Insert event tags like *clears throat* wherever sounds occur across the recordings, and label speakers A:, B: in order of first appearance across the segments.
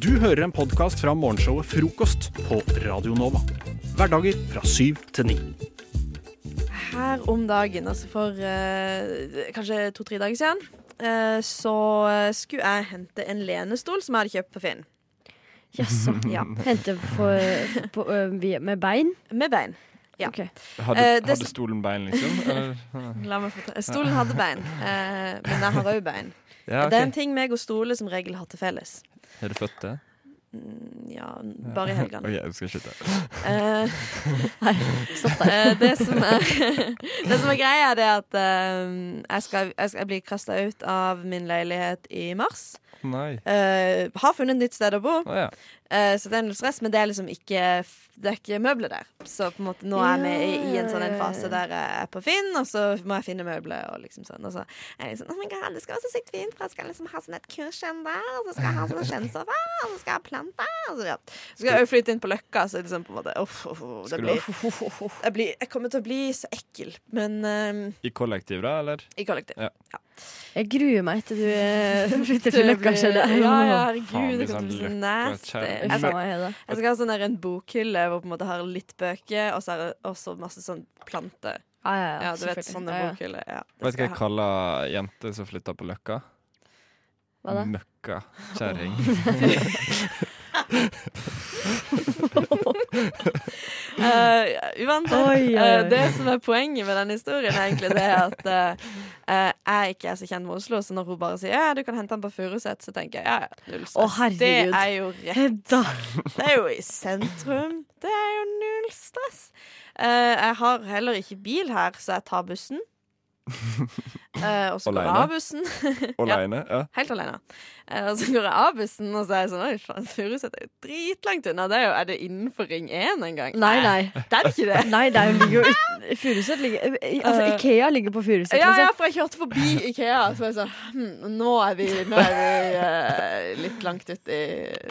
A: Du hører en podkast fra morgenshowet Frokost på Radio Nova. Hverdager fra syv til ni.
B: Her om dagen, altså for eh, kanskje to-tre dager siden, eh, så eh, skulle jeg hente en lenestol som jeg hadde kjøpt på Finn.
C: Jaså.
D: *laughs*
B: Ja.
C: Hente for, på, ø, vi- med bein?
B: Med bein. Ja.
C: Ok.
D: Hadde,
B: Eh, det
D: hadde
B: som-
D: stolen bein, liksom? Eller?
B: La meg fortelle. Stolen hadde bein, eh, men jeg har òg bein.
D: Ja,
B: Det er
D: ok.
B: en ting meg og stoler som regel har til felles.
D: Er du født det?
B: Mm, Ja, bare i helgene.
D: *laughs* OK, jeg skal slutte.
B: Eh, *laughs*
C: Nei, stopp der.
B: eh, det, som er, *laughs* det som er greia, det er at eh, jeg, skal, jeg skal bli kasta ut av min leilighet i mars.
D: Nei.
B: Eh, har funnet et nytt sted å bo,
D: Å ja.
B: eh, så det er null stress. Men det er liksom ikke Det er ikke møbler der. Så på en måte nå er jeg med i, i en sånn en fase der jeg er på Finn, og så må jeg finne møbler. Og liksom sånn Og så er *laughs* jeg liksom, oh my God, det skal være så sykt fint, for jeg skal liksom ha sånn et kursskjerm der, og så skal jeg ha sånn skjermsofa, og så skal jeg ha planter. og Så, ja. så skal jeg jo flytte inn på Løkka, så liksom på en måte uff, uff, uff, det
D: Skal du-
B: blir jeg, blir, jeg kommer til å bli så ekkel, men eh,
D: I kollektiv, da, eller?
B: i kollektiv.
C: Jeg gruer meg til du
B: *laughs*
C: ø, flytter til
B: Det
C: Løkka,
B: blir-
C: skjønner jeg.
B: Ja, ja,
D: Faen,
B: herregud, det
D: hvis han
B: kommer til å bli så
D: Løkka
B: nasty.
D: kjære-
B: Jeg
C: Uff a
B: skal,
C: meg, Hedda.
B: jeg skal ha sånn der en bokhylle hvor jeg på en måte har litt bøker, og så er det også masse sånn planter.
C: Ja, ja, ja,
B: Ja, du vet,
C: selvfølgelig.
B: sånne
C: Ja, ja.
B: bokhyller. Ja, det
D: Vet du
B: skal jeg
D: hva jeg
B: ha.
D: kaller jenter som flytter på Løkka?
C: Hva da?
B: *laughs*
D: Møkkakjerring.
B: *laughs* Eh, uansett,
C: Oi, oi, oi.
B: eh, det som er poenget med den historien, er egentlig det at eh, eh, jeg ikke er så kjent med Oslo, så når hun bare sier ja, du kan hente den på Furuset, så tenker jeg ja, ja, null
C: Å,
B: stress. det
C: herregud. Eh,
B: er jo rett
C: Hedda!
B: Det er jo i sentrum. Det er jo null stress. Eh, jeg har heller ikke bil her, så jeg tar bussen. Eh, og så går jeg
D: Alene?
B: av bussen. *laughs*
D: Aleine? Ja.
B: Helt alene. Eh, og så går jeg av bussen, og så er jeg sånn Oi, faen, Furuset er jo dritlangt unna. Det er, jo, er det innenfor Ring 1 en gang?
C: Nei, nei.
B: Det er ikke det.
C: Nei, det er jo ligger jo ut-
B: *laughs*
C: Furuset ligger i- Altså,
B: Eh.
C: Ikea ligger på Furuset.
B: Ja, ja,
C: liksom.
B: for *laughs* jeg kjørte forbi Ikea, og så var jeg sånn hm, Nå er vi, nå er vi eh, litt langt uti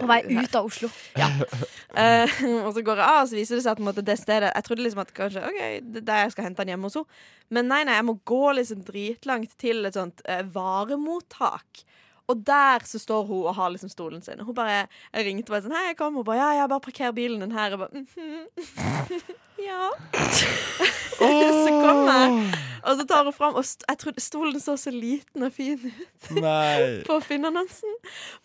C: På vei ut av Oslo.
B: Eh, og så går jeg av, og så viser det seg at på en måte, det stedet Jeg trodde liksom at kanskje OK, det er der jeg skal hente han hjemme hos henne. Men nei, nei, jeg må gå liksom dritlangt til et sånt eh, varemottak. Og der så står hun og har liksom stolen sin. Og hun bare, jeg ringte bare sånn Hei, jeg kom. Hun bare Ja, ja, bare parker bilen din her. Jeg bare «Mhm,
D: *laughs*
B: Ja. *laughs* så kom jeg, og så tar hun fram Og st jeg trodde stolen så så liten og fin ut
D: Nei!
B: *laughs* på Finn-annonsen,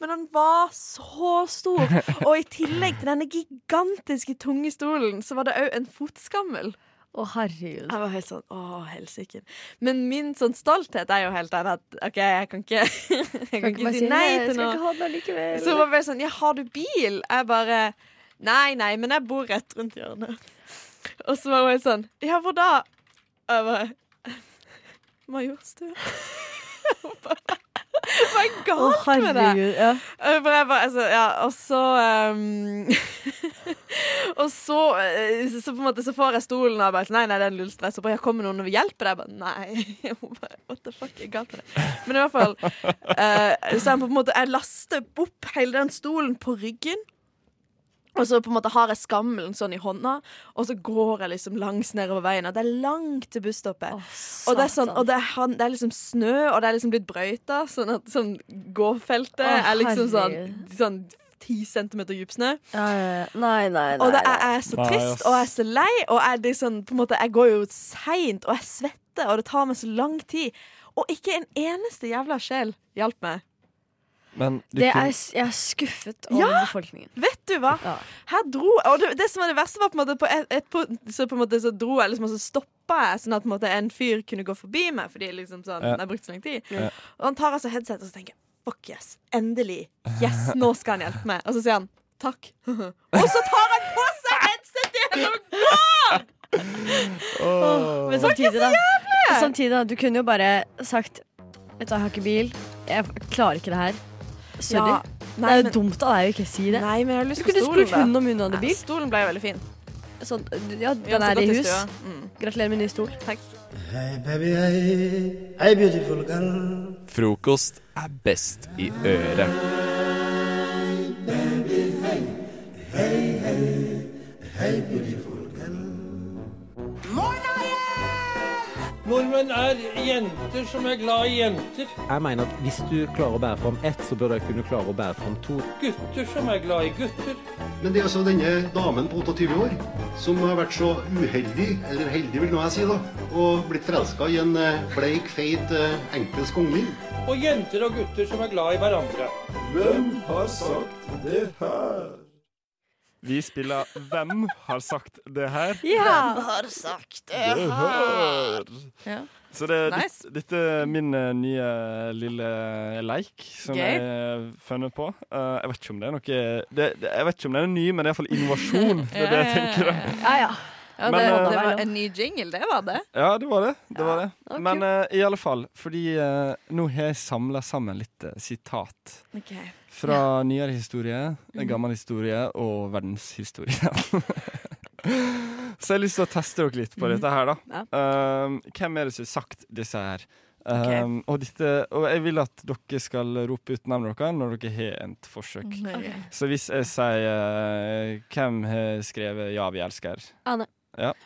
B: men han var så stor. Og i tillegg til denne gigantiske, tunge stolen, så var det òg en fotskammel.
C: Å, herregud.
B: Jeg var helt sånn Å, helsike. Men min sånn stolthet er jo helt den at OK, jeg kan ikke, *laughs* jeg kan ikke si nei til noe.
C: ha den allikevel.
B: Så var det bare sånn Ja, har du bil? Jeg bare Nei, nei, men jeg bor rett rundt hjørnet. Og så var hun helt sånn Ja, hvor da? Og jeg bare Majorstua. Hun bare, Hva er
C: Å,
B: galt med deg?
C: herregud. Ja.
B: Eh, For jeg bare, altså, ja, og så ehm, *laughs* Og så, eh, så, så på en måte så får jeg stolen og bare sånn, Nei, nei, det er null stress. Og bare, «Ja, kommer noen og vil hjelpe deg? Jeg bare, nei. *laughs* Hun bare, What the fuck er galt med det? Men i hvert fall eh, Så jeg på en måte Jeg laster opp hele den stolen på ryggen. Og så på en måte har jeg skammelen sånn i hånda, og så går jeg liksom langs nedover veien. Og det er langt til busstoppet. Og det er sånn, og det er, han, det er liksom snø, og det er liksom blitt brøyta, sånn at sånn gåfeltet
C: Å,
B: er liksom sånn,
C: herregud.
B: sånn 10 centimeter dyp snø.
C: Ja, ja, ja. Nei, nei, nei.
B: Og det er,
C: nei.
B: jeg er så
D: Nei,
B: trist,
D: ass.
B: og jeg er så lei, og jeg, er liksom, på en måte, jeg går jo seint, og jeg svetter, og det tar meg så lang tid. Og ikke en eneste jævla sjel hjalp meg.
D: Men du
C: Det
D: kunne
C: er, jeg er skuffet over befolkningen.
B: Vet du hva?
C: Ja.
B: Her dro Og det, det som var det verste, var på en måte på et, et punkt så på en måte så dro jeg liksom, og så stoppa jeg, sånn at på en, måte, en fyr kunne gå forbi meg, fordi liksom sånn,
D: Ja.
B: jeg brukte så lang tid.
D: Ja.
B: Og han tar altså headsetet og så tenker jeg, Fuck yes, endelig. Yes, nå skal han hjelpe meg. Og så sier han takk. *laughs* og så tar han på seg headsetet igjen og
D: Åh.
C: Men samtidig, da. Samtidig, da. Du kunne jo bare sagt Vet du, jeg har ikke bil. Jeg klarer ikke det her. Sorry.
B: Ja,
C: det
B: Nei,
C: er jo
B: men,
C: dumt av deg å ikke si det.
B: nei, men jeg har lyst
C: du
B: på
C: Altså, kunne
B: stolen.
C: spurt hun
B: da.
C: om hun
B: Nei,
C: hadde bil.
B: stolen ble jo veldig fin.
C: Sånn, ja,
B: Vi har også
C: den er i
B: gått
C: hus.
B: stua. Mm.
C: Gratulerer med ny stol.
B: Takk.
E: Hey baby, hey, hey beautiful girl.
F: Frokost er best i øret.
G: Nordmenn er i jenter som er glad i jenter.
H: Jeg mener at hvis du klarer å bære fram ett, så bør du kunne klare å bære fram to.
G: Gutter som er glad i gutter.
I: Men det er altså denne damen på 28 år som har vært så uheldig, eller heldig vil nå jeg si, da, og blitt forelska i en eh, bleik, feit, eh, engelsk kongelig.
G: Og jenter og gutter som er glad i hverandre.
D: Vi spiller Hvem har sagt det her?
C: Ja.
B: Har sagt
D: Det her.
C: Ja.
D: Så det,
B: Nice.
D: ditt- dette er min eh, nye lille eh, leik som
B: Gøy.
D: jeg har funnet på. Eh, jeg vet ikke om det er noe det, det, Jeg vet ikke om det er ny, men det er iallfall
B: *laughs*
D: innovasjon. Det er det jeg tenker. da.
C: Ja, ja.
B: Ja,
D: Men,
B: det,
D: eh,
B: det var en ny jingle, det var det.
D: Ja, det var det. det, var det.
C: var
D: Men eh, i alle fall, fordi eh, nå har jeg samla sammen litt eh, sitat fra nyere historie, gammel historie og verdenshistorie. *laughs* Så jeg har lyst til å teste dere litt på dette her, da. Um, hvem er det som har sagt disse her? Um, og, dette, og jeg vil at dere skal rope ut navnet deres når dere har et forsøk. Så hvis jeg sier eh, hvem har skrevet 'Ja, vi elsker',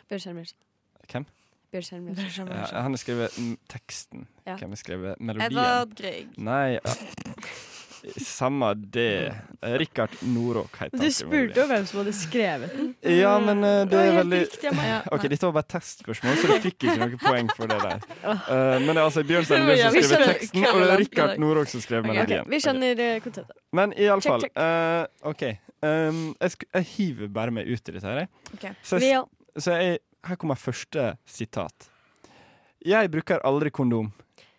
C: Bjørn Skjermers.
D: Hvem?
C: Bjørn Skjermers.
D: ja, han har skrevet mm, teksten.
C: Ja.
D: Hvem har skrevet melodien?
B: Edvard Grieg.
D: Nei ja. Samme det. Eh, Rikard Norok heter
C: Du
D: han som melodien.
C: spurte jo hvem som hadde skrevet den.
D: Ja, men
C: *laughs*
D: eh, det er veldig
C: riktig av meg.
B: Ja,
D: Ok,
B: nei.
D: Dette var bare et testspørsmål, så du fikk ikke noe poeng for det der. Eh, men det er altså Bjørn Stein Lund som
B: Vi
D: skrev
B: skjønner
D: teksten,
B: hvem
D: og det
B: det
D: er
B: er.
D: Rikard Norok som skrev
C: Ok,
D: melodien.
C: vi skjønner eh, konseptet.
D: Ok. Men i alle
C: Check,
D: fall
C: check.
D: eh, OK. Um, jeg, sk jeg hiver bare meg ut i dette her. jeg.
B: Ok.
D: Så,
C: Vi
D: jeg,
C: òg.
D: så jeg, her kommer første sitat. Jeg bruker aldri kondom.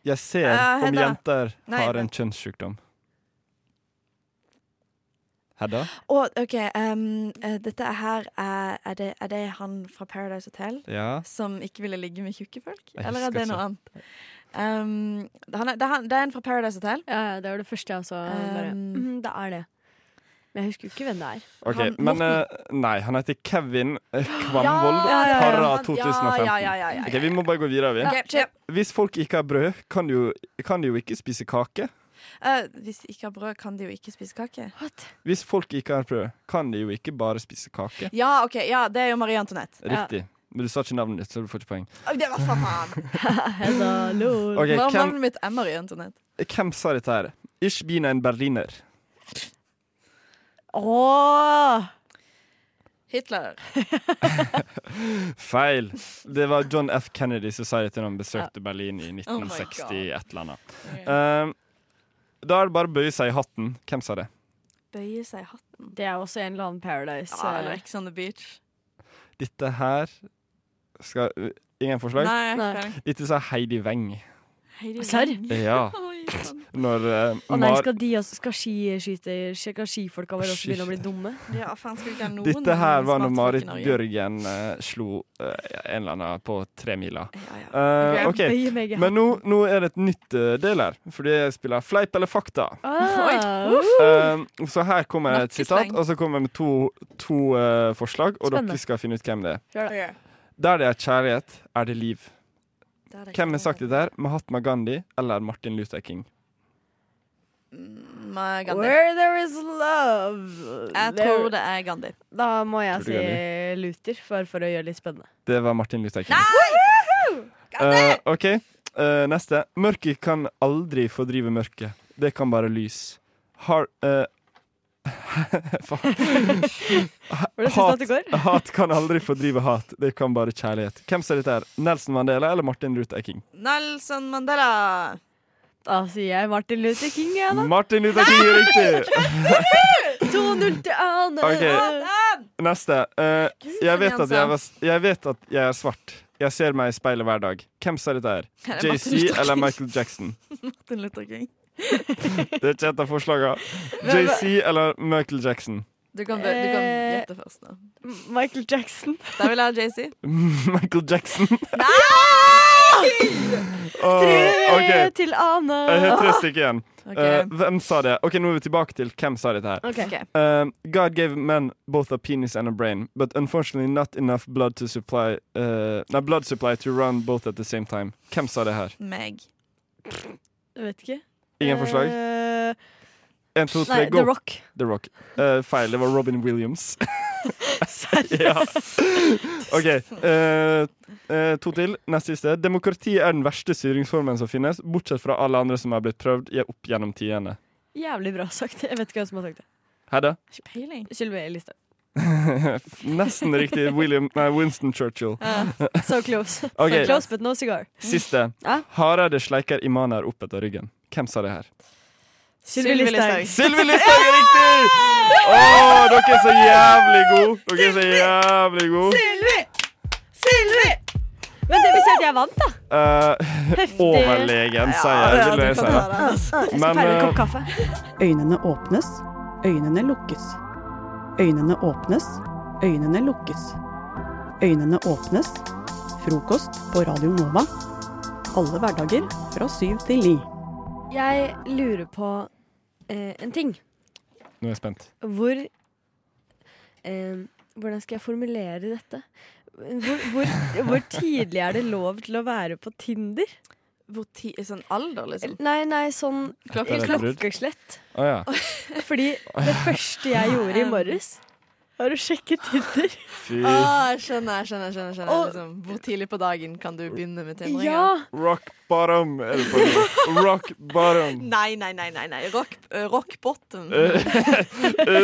D: Jeg ser
B: Eh,
D: om
B: Hedda.
D: jenter
B: Nei,
D: har
B: men-
D: en kjønnssykdom. Hedda?
B: Og OK, em, eh, dette her er er det, er det han fra Paradise Hotel
D: Ja.
B: som ikke ville ligge med tjukke folk?
D: Jeg
B: Eller er
D: husker
B: det noe
D: ikke.
B: annet? Em, Mm, han er, det, er han, det er en fra Paradise Hotel.
C: Ja, ja, det var det første jeg også. bare,
B: Um,
C: «Mhm, det er det. Men jeg husker jo ikke hvem det er.
D: Ok,
B: Han-
D: men
B: Morten-
D: eh, Nei, han heter Kevin eh, Kvamvold
B: Ja, ja, ja, ja.
D: Parra
B: Han-
D: 2015.
B: Ja, ja, ja, ja, ja.
D: Ok, Vi må bare gå videre. Vi.
B: Ok, ja.
D: Hvis folk ikke har brød, kan de, jo, kan de jo ikke spise kake.
B: Eh, hvis de ikke har brød, kan de jo ikke spise kake.
D: Hvis folk ikke har brød, kan de jo ikke bare spise kake.
B: Ja, ok, ja, det er jo Marie Antoinette.
D: Riktig. Men du sa ikke navnet ditt, så du får ikke poeng.
B: Å, Det var
C: *laughs*
B: faen!
C: Hedda Lol.
D: Ok, hvem,
B: Navnet mitt er Marie Antoinette.
D: hvem sa dette her? Ich bin ein Berliner.
C: Åh!
B: Hitler.
D: Feil. Det var John F. Kennedy som sa dette når han besøkte Berlin i
B: Oh my
D: 1960
B: God.
D: et eller annet. Eh, da er det bare å bøye seg i hatten. Hvem sa det?
B: Bøye seg i hatten.
C: Det er også en eller annen Paradise.
B: Ja,
C: eh,
B: eller Ex on the Beach.
D: Dette her skal Ingen forslag?
B: Nei, jeg har
C: Nei.
B: ikke peiling.
D: Dette sa Heidi Weng.
B: Heidi
C: Serr?
B: Lang.
D: Ja.
B: Oi, sann.
D: Når eh,
C: Å nei,
D: Mar
C: skal de også, skal skiskyter, skal skifolka våre også begynne å bli dumme?
B: Ja, faen, skal vi ikke ha noen
D: Dette
C: eh,
D: her var når
B: smartfolk i
D: Marit
B: Norge?
D: Bjørgen eh, slo eh, en eller annen på tremila.
B: Ja, ja.
D: Uh,
C: Jeg
D: OK,
C: bøyer meg i
D: men nå, nå er det et nytt eh, del her, fordi jeg spiller fleip eller fakta.
C: Ah,
B: Oi.
C: uh,
J: Oh,
D: Eh, så her kommer et
B: Nakkesleng.
D: sitat, og så kommer jeg med to, to eh, forslag, og
C: Spennende.
D: dere skal finne ut hvem det er.
C: gjør det.
B: Ok.
D: Der det er kjærlighet, er det liv.
B: Det er det
D: Hvem har
B: ikke.
D: sagt dette her? Mahatma Gandhi eller Martin Luther King?
B: Med Gandhi.
C: Where there is love
B: Jeg tror
C: there-
B: det er Gandhi.
C: Da må jeg
D: Tror du
C: si Luther, for, for å gjøre det litt spennende.
D: Det var Martin Luther King. Eh, OK, eh, neste. Mørket kan aldri fordrive mørket. Det kan bare lys. Har, eh, *laughs*
C: *laughs*
D: faen.
C: Var det siste
D: Hat.
C: at det går?
D: hat kan aldri fordrive hat. Det kan bare kjærlighet. Hvem sa dette? her? Nelson Mandela eller Martin Luther King?
B: Nelson Mandela. *laughs*
C: Da sier jeg Martin Luther King, jeg, da.
D: Martin Luther King
C: *laughs*
D: er riktig!
C: 2-0 til Ane.
D: Ok. Neste. Eh, jeg, vet at jeg,
B: Jensen.
D: var, s- jeg vet at jeg er svart. Jeg ser meg i speilet hver dag. Hvem sa dette? her?
B: Er det Martin Luther King?
D: JC eller Michael Jackson?
B: Martin Luther King.
D: Det er ikke et av forslagene. JC eller Michael Jackson? *laughs*
B: Du kan, du kan
C: Eh.
B: gjette først nå.
C: Michael Jackson.
B: Da vil jeg ha JC.
D: Michael Jackson.
B: Nei!
D: Åh, OK.
C: Til Ane.
D: Jeg har tre stykker igjen. Eh,
B: Ok.
D: hvem sa det? Ok, Nå er vi tilbake til hvem sa dette her.
C: Ok.
B: Ok.
D: Eh, God gave men both a penis and a brain, but unfortunately not enough blood to supply eh, Nei, blood supply to run both at the same time. Hvem sa det her?
B: Meg.
C: Jeg vet ikke.
D: Ingen forslag?
C: Eh,
D: En, to,
C: nei,
D: tre,
C: The
D: go.
C: Rock. *laughs*
D: The Rock. Eh, feil. Det var Robin Williams.
B: Seriøst?
D: Ja. OK. eh, eh, to til. Nest siste. Demokrati er den verste styringsformen som finnes, bortsett fra alle andre som har blitt prøvd i- opp gjennom tidene.
C: Jævlig bra sagt. Jeg vet ikke hvem som har sagt det.
D: Hedda? *laughs*
B: Peiling.
C: Sylvi Listhaug.
D: Nesten riktig. William, nei, Winston Churchill.
C: So
D: *laughs*
C: close.
D: Ok.
C: So close, but no cigar. Mm. Ah,
D: Siste.
C: Ja.
D: Hareide sleiker imaner opp etter ryggen. Hvem sa det her?
C: Sylvi
B: Sylvi
C: Listhaug.
B: Listhaug.
D: Sylvi Listhaug er riktig! Å, dere er så jævlig gode! Dere er så jævlig
C: *laughs*
D: gode.
C: Sylvi! Sylvi! Men det vil si at jeg vant, da.
D: Eh,
C: Heftig.
D: overlegen seier, vil jeg si.
C: Jeg skal
D: Men,
C: feire en kopp
D: eh,
C: kaffe.
K: Øynene åpnes, øynene lukkes. Øynene åpnes, øynene lukkes. Øynene åpnes. Frokost på Radio Nova. Alle hverdager fra syv til ni.
C: Jeg lurer på eh, en ting.
D: nå er jeg spent.
C: Hvor eh, Hvordan skal jeg formulere dette? Hvor, hvor, hvor tidlig er det lov til å være på Tinder?
B: Hvor ti, sånn alder, liksom?
C: Nei, nei, sånn
D: Klokkeslett.
C: klokkeslett.
D: Å ja.
C: *laughs* Fordi det første jeg gjorde i morges, var å sjekke Tinder.
D: Fy
B: Ah, skjønner, skjønner, skjønner, skjønner.
C: Og-
B: liksom, Hvor tidlig på dagen kan du begynne med tindringer?
C: Ja!
D: Rock bottom er det på nå. Rock bottom.
B: Nei, nei, nei, nei, nei. Rock, eh, rock bottom.
D: Eh,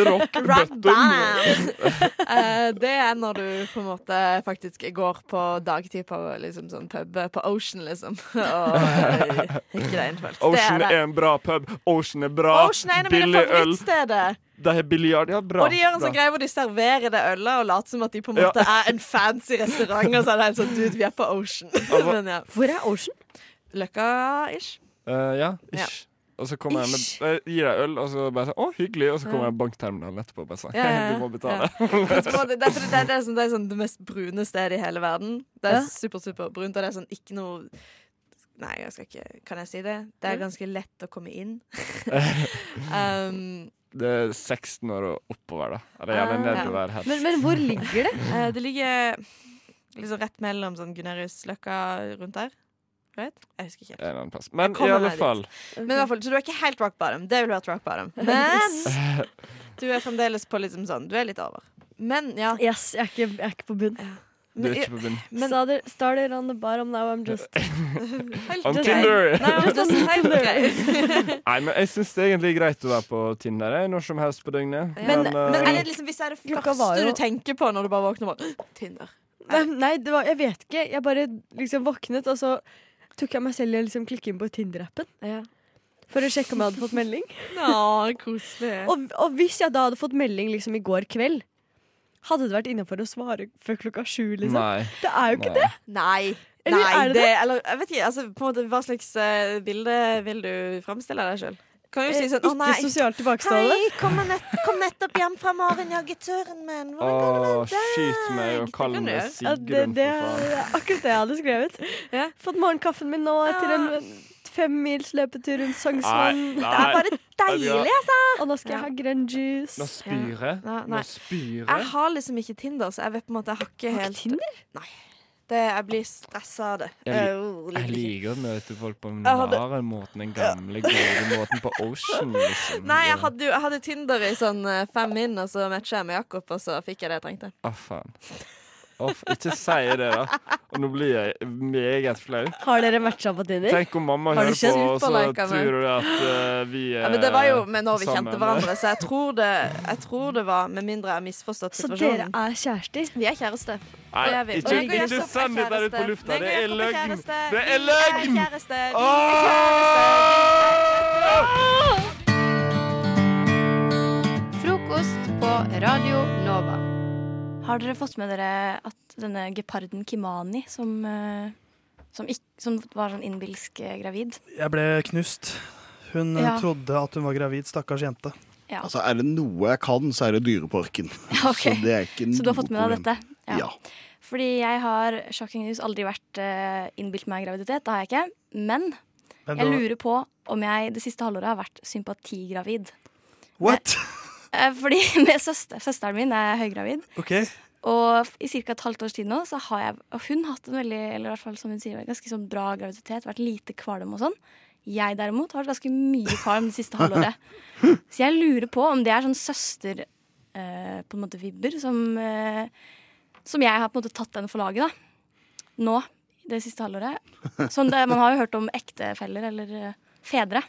D: Rock
B: *laughs* Rock
D: bottom.
B: bottom. Eh, det er når du på en måte faktisk går på dagtid på liksom sånn pub på Ocean, liksom. *laughs* Og eh, hikker deg inn folk.
D: Ocean
B: det er det.
D: er en bra pub. Ocean er bra.
B: Ocean er en av mine
D: Billig øl.
B: favorittsteder.
D: De har biljard. Ja, bra.
B: Og de gjør en sånn
D: bra.
B: greie hvor de serverer det ølet og later som at de på en måte er en fancy restaurant. Og så er det helt sånn Dude, vi er på Ocean.
D: Altså-
B: *laughs* Men ja.
C: Hvor er Ocean?
B: Løkka-ish.
D: Eh, ja, ish. Og så kommer jeg med, jeg gir deg øl, og så bare sånn Å, hyggelig. Og så kommer jeg med bankterminalen etterpå og bare sånn
B: Ja, ja, ja.
D: *laughs* Du må betale.
B: Jeg tror Det, det, er fordi det, er- det er sånn, det er sånn det mest brune stedet i hele verden. Det er
C: Ja.
B: super, super brunt, og det er sånn ikke noe Nei, jeg skal ikke Kan jeg si det? Det er ganske lett å komme
D: *laughs*
B: inn. um,
D: Det er 16 år og oppover, da. Eller gjerne
B: Ah.
D: nedover her.
C: Men, men hvor ligger det?
B: eh, det ligger liksom rett mellom sånn Guneriusløkka rundt der. Right? Jeg husker ikke. helt.
D: En eller annen plass. Men i
B: kommer
D: alle
B: meg dit.
D: fall.
B: *laughs* Men i hvert fall, Så du er ikke helt rock bottom. Det ville vært rock
D: *laughs*
B: bottom. Men du er fremdeles på liksom sånn Du er litt over. Men ja.
C: Yes, jeg er ikke, jeg er ikke på bunn.
D: Du
B: Men,
D: er ikke på bunnen.
B: men-
C: Started, started on the bottom, now I'm
D: *laughs*
C: just
B: helt
D: On
B: grei.
D: Tinder.
B: Nei, men det
D: *laughs*
B: er helt grei.
D: Nei, men jeg syns det er egentlig greit å være på Tinder jeg, når som helst på døgnet.
B: Men- Men
D: eh,
B: er det liksom, hvis det er det
C: Klokka var
B: første
C: jo-
B: du tenker på når du bare våkner bare, *gasps* Tinder.
C: Nei, nei det var, jeg vet ikke. Jeg bare liksom våknet, og så tok jeg meg selv i å liksom klikke inn på Tinder-appen
B: Ja.
C: for å sjekke om jeg hadde fått
B: *laughs*
C: melding. Ah,
B: koselig.
C: Og, og hvis jeg da hadde fått melding liksom i går kveld, hadde det vært innafor å svare før klokka sju, liksom?
D: Nei.
C: Det er jo ikke
D: nei.
B: Nei.
C: Eller
B: Nei,
C: er det
B: det, eller jeg vet ikke, altså, på en måte, Hva slags eh, bilde vil du framstille deg sjøl? Kan du
C: det.
B: si sånn 'Å,
C: Eh, ikke
B: nei'.
C: sosialt tilbakestående.
B: Hei, kom, nett, kom nettopp hjem fra morgenjaggeturen min.
D: Å,
B: Hvordan går det med
D: skyt meg og
B: Det
D: kall
B: kan du gjøre.
D: meg
C: Ja, det,
D: Sigrun, for
C: det er
D: faen.
C: *laughs* akkurat det jeg hadde skrevet.
B: Ja.
C: Fått morgenkaffen min nå til en femmils løpetur rundt Sognsvann.
B: Det er bare deilig, altså.
C: Og nå skal jeg ha grønn
D: Nå
C: juice.
D: spyr jeg.
B: Ja, nei.
D: Nå
B: Jeg
D: spyr jeg.
B: har liksom ikke Tinder, så jeg vet på en måte jeg har ikke
C: Har ikke
B: helt
C: Tinder?
B: det, Jeg blir stressa av det.
D: Jeg
B: Jeg liker
D: Jeg
B: ikke.
D: liker å møte folk på den
B: Jeg hadde-
D: rare måten, den gamle, gode måten på Ocean,
B: *laughs*
D: liksom.
B: Nei, jeg hadde, jo, jeg hadde Tinder i sånn eh, fem min, og så matcha jeg med Jakob, og så fikk jeg det jeg trengte.
D: Å, faen. Å, f- ikke si det, da. Og nå blir jeg meget flau.
C: Har dere matcha på Tinder?
D: Tenk om mamma
B: Har du
D: hører på,
B: kjent
D: og så
B: superliker meg?
D: tror du at eh, vi er
B: Ja, men det var jo med når vi
D: sammen.
B: kjente
D: *laughs*
B: hverandre, så jeg tror det, jeg tror det var Med mindre jeg har misforstått
C: Så dere
B: situasjonen.
C: er kjærester?
B: Vi er kjæreste.
D: Nei,
B: Det er vi. Og
D: ikke,
B: jeg og
D: ikke
B: Jakob
D: send dette ut på
B: kjæreste.
D: lufta.
B: Meg og
D: Det er
B: Jakob
D: løgn!
B: kjæreste.
D: Det er
B: Vi
D: løgn!
B: er kjæreste. Vi er kjæreste.
D: Åh!
L: Frokost på Radio Nova. Har dere fått med dere at denne geparden Kimani, som, eh, som, ikk, som var sånn innbilsk eh, gravid
M: Jeg ble knust. Hun eh,
L: Ja.
M: trodde at hun var gravid, stakkars jente.
L: ja.
N: Altså, er det noe jeg kan, så er det Dyreparken.
L: *laughs* Ja, *laughs* ok.
N: Så det er ikke
L: Så du har
N: noe
L: fått med deg
N: problem.
L: dette?
N: Ja.
L: Fordi jeg har shocking news aldri vært uh, innbilt meg graviditet. Det har jeg ikke. Men
M: Men
L: jeg
M: du-
L: lurer på om jeg det siste halvåret har vært sympatigravid.
M: What?!
L: Eh, fordi *laughs* med søster, søsteren min er høygravid.
M: OK.
L: Og f- i ca. et halvt års tid nå så har jeg, og hun har hatt en veldig, eller i hvert fall som hun sier, ganske sånn bra graviditet. Vært lite kvalm og sånn. Jeg derimot har vært ganske mye kvalm det siste halvåret. Så jeg lurer på om det er sånn søster eh, på en måte vibber som, eh, som jeg har på en måte tatt den for laget da. nå, det siste halvåret. Sånn det, man har jo hørt om ektefeller eller eh, fedre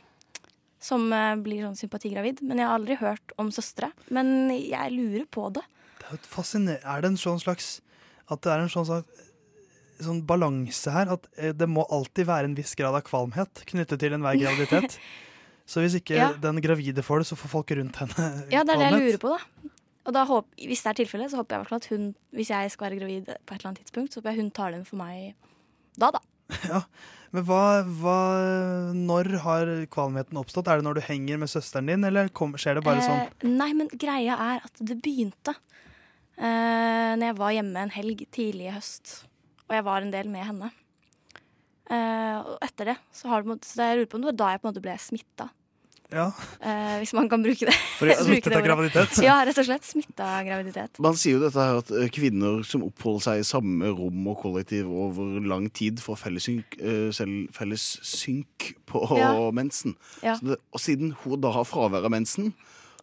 L: som eh, blir sånn sympatigravid. Men jeg har aldri hørt om søstre. Men jeg lurer på det.
M: Det er, jo et fasciner- er det en sånn slags At det er en sånn, slags, sånn balanse her? At eh, det må alltid være en viss grad av kvalmhet knyttet til enhver
L: *laughs*
M: graviditet. Så hvis ikke
L: Ja.
M: den gravide får det, så får folk rundt henne
L: Ja, det er det jeg lurer på, da. Og da håp, hvis det er tilfellet, så håper jeg i hvert fall at hun, hvis jeg skal være gravid på et eller annet tidspunkt, så håper jeg hun tar den for meg da, da.
M: Men hva, hva, når har kvalmheten oppstått? Er det når du henger med søsteren din, eller kom, skjer det bare sånn?
L: Eh, nei, men greia er at det begynte eh, når jeg var hjemme en helg tidlig i høst. Og jeg var en del med henne. Eh, og etter det så har det på en måte- Så jeg lurer på om det var da jeg på en måte ble smitta.
M: Ja.
L: Eh, hvis man kan bruke det.
N: For det-
L: *laughs* bruke det
N: smittet av
L: ordet.
N: graviditet?
L: Ja, rett og slett. Smitta av graviditet.
N: Man sier jo dette her at eh, kvinner som oppholder seg i samme rom og kollektiv over lang tid, får felles synk, eh, selv- felles synk på
L: Ja.
N: mensen.
L: Ja.
N: Så det, og siden hun da har fravær av mensen,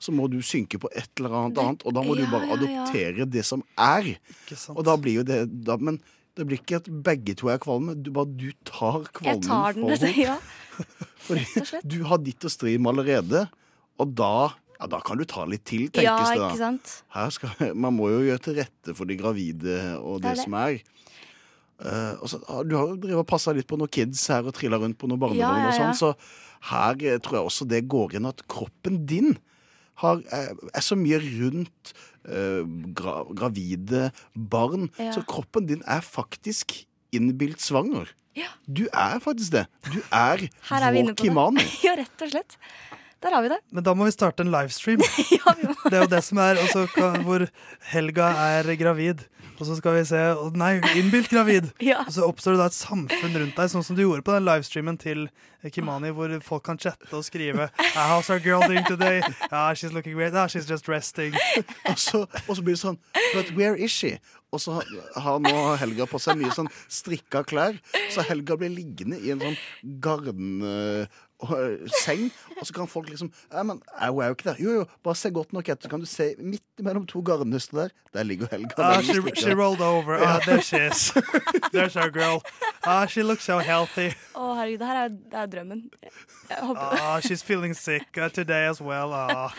N: så må du synke på et eller annet
L: Det-
N: annet, og da må
L: ja,
N: du bare
L: ja, ja.
N: adoptere det som er.
M: sant.
N: Og da blir jo det da, Men det blir ikke at begge to er kvalme, du bare du tar
L: Jeg
N: kvalmen
L: tar den,
N: for
L: *laughs*
N: henne.
L: ja.
N: Fordi du har ditt å stri med allerede, og da ja, da kan du ta litt til, tenkes
L: Ja,
N: det da.
L: ikke sant?
N: Her skal, *laughs* man må jo gjøre til rette for de gravide og
L: Det er det.
N: det, som er. Eh, og så, ah, du har jo drevet og passa litt på noen kids her og trilla rundt på noen barnevogn,
L: Ja, ja,
N: og
L: ja.
N: sånn, så her eh, tror jeg også det går inn at kroppen din har, er, er så mye rundt eh, gra, gravide barn,
L: Ja.
N: så kroppen din er faktisk innbilt svanger.
L: Ja.
N: Du er faktisk det. Du er,
L: Her er vi inne
N: vår
L: på
N: kimani.
L: det. *laughs* Ja, rett og slett. Der har vi det.
M: Men da må vi starte en livestream. det er jo det som er altså, ka- hvor Helga er gravid, og så skal vi se å, Nei, innbilt gravid! Og så oppstår det da et samfunn rundt deg, sånn som du gjorde på den livestreamen til eh, Kimani, hvor folk kan chatte og skrive ah, 'How's our girl doing today?' Ah, 'She's looking great.' Ah, 'She's just resting'.
N: Og så, *laughs* og så blir det sånn But where is she? Og så har- har nå Helga på seg mye sånn strikka klær. Så Helga blir liggende i en sånn eh, garnseng. Og så kan folk liksom Ja, men au, er jo ikke der. Jo, jo, bare se godt nok etter. Så kan du se midt mellom to garnnøster der. Der ligger Helga.
M: Ah,
N: mellom
M: she,
N: strikkene.
M: she rolled over. Ah,
N: Ja.
M: there she is. *laughs* There's our girl. Ah, she looks so healthy.
L: Å, herregud, det her er, det er drømmen. Jeg håper
M: Ah, she's feeling sick uh, today as well. Ah.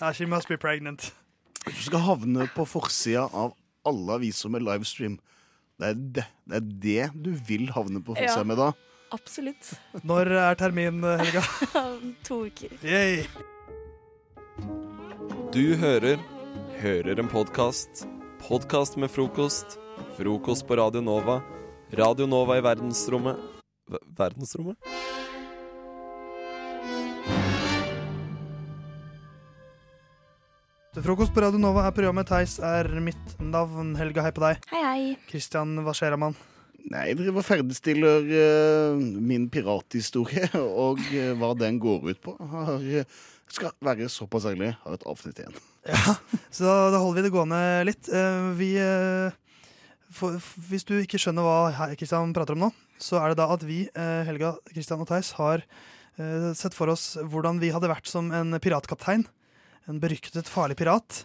M: Ah, she must be pregnant.
N: *laughs* Du skal havne på forsida av alle aviser med livestream. Det er det, det, er det du vil havne på forsida
L: Ja.
N: med da.
L: Absolutt.
M: Når er termin, eh, Helga?
L: *laughs* Om to uker.
M: Yay.
F: Du hører Hører en podkast. Podkast med frokost. Frokost på Radio Nova. Radio Nova i verdensrommet Ver- Verdensrommet?
M: Frokost på Radio Nova er programmet. Theis er mitt navn. Helga, hei på deg.
L: Hei, hei.
M: Kristian, hva skjer, mann?
N: Nei, jeg driver og ferdigstiller eh, min pirathistorie, *laughs* og eh, hva den går ut på. Har, eh, skal være såpass ærlig, har et avsnitt igjen.
M: Så da, da holder vi det gående litt. Eh, vi eh, for, f- Hvis du ikke skjønner hva he- Kristian prater om nå, så er det da at vi, eh, Helga, Kristian og Theis, har eh, sett for oss hvordan vi hadde vært som en piratkaptein. En beryktet, farlig pirat.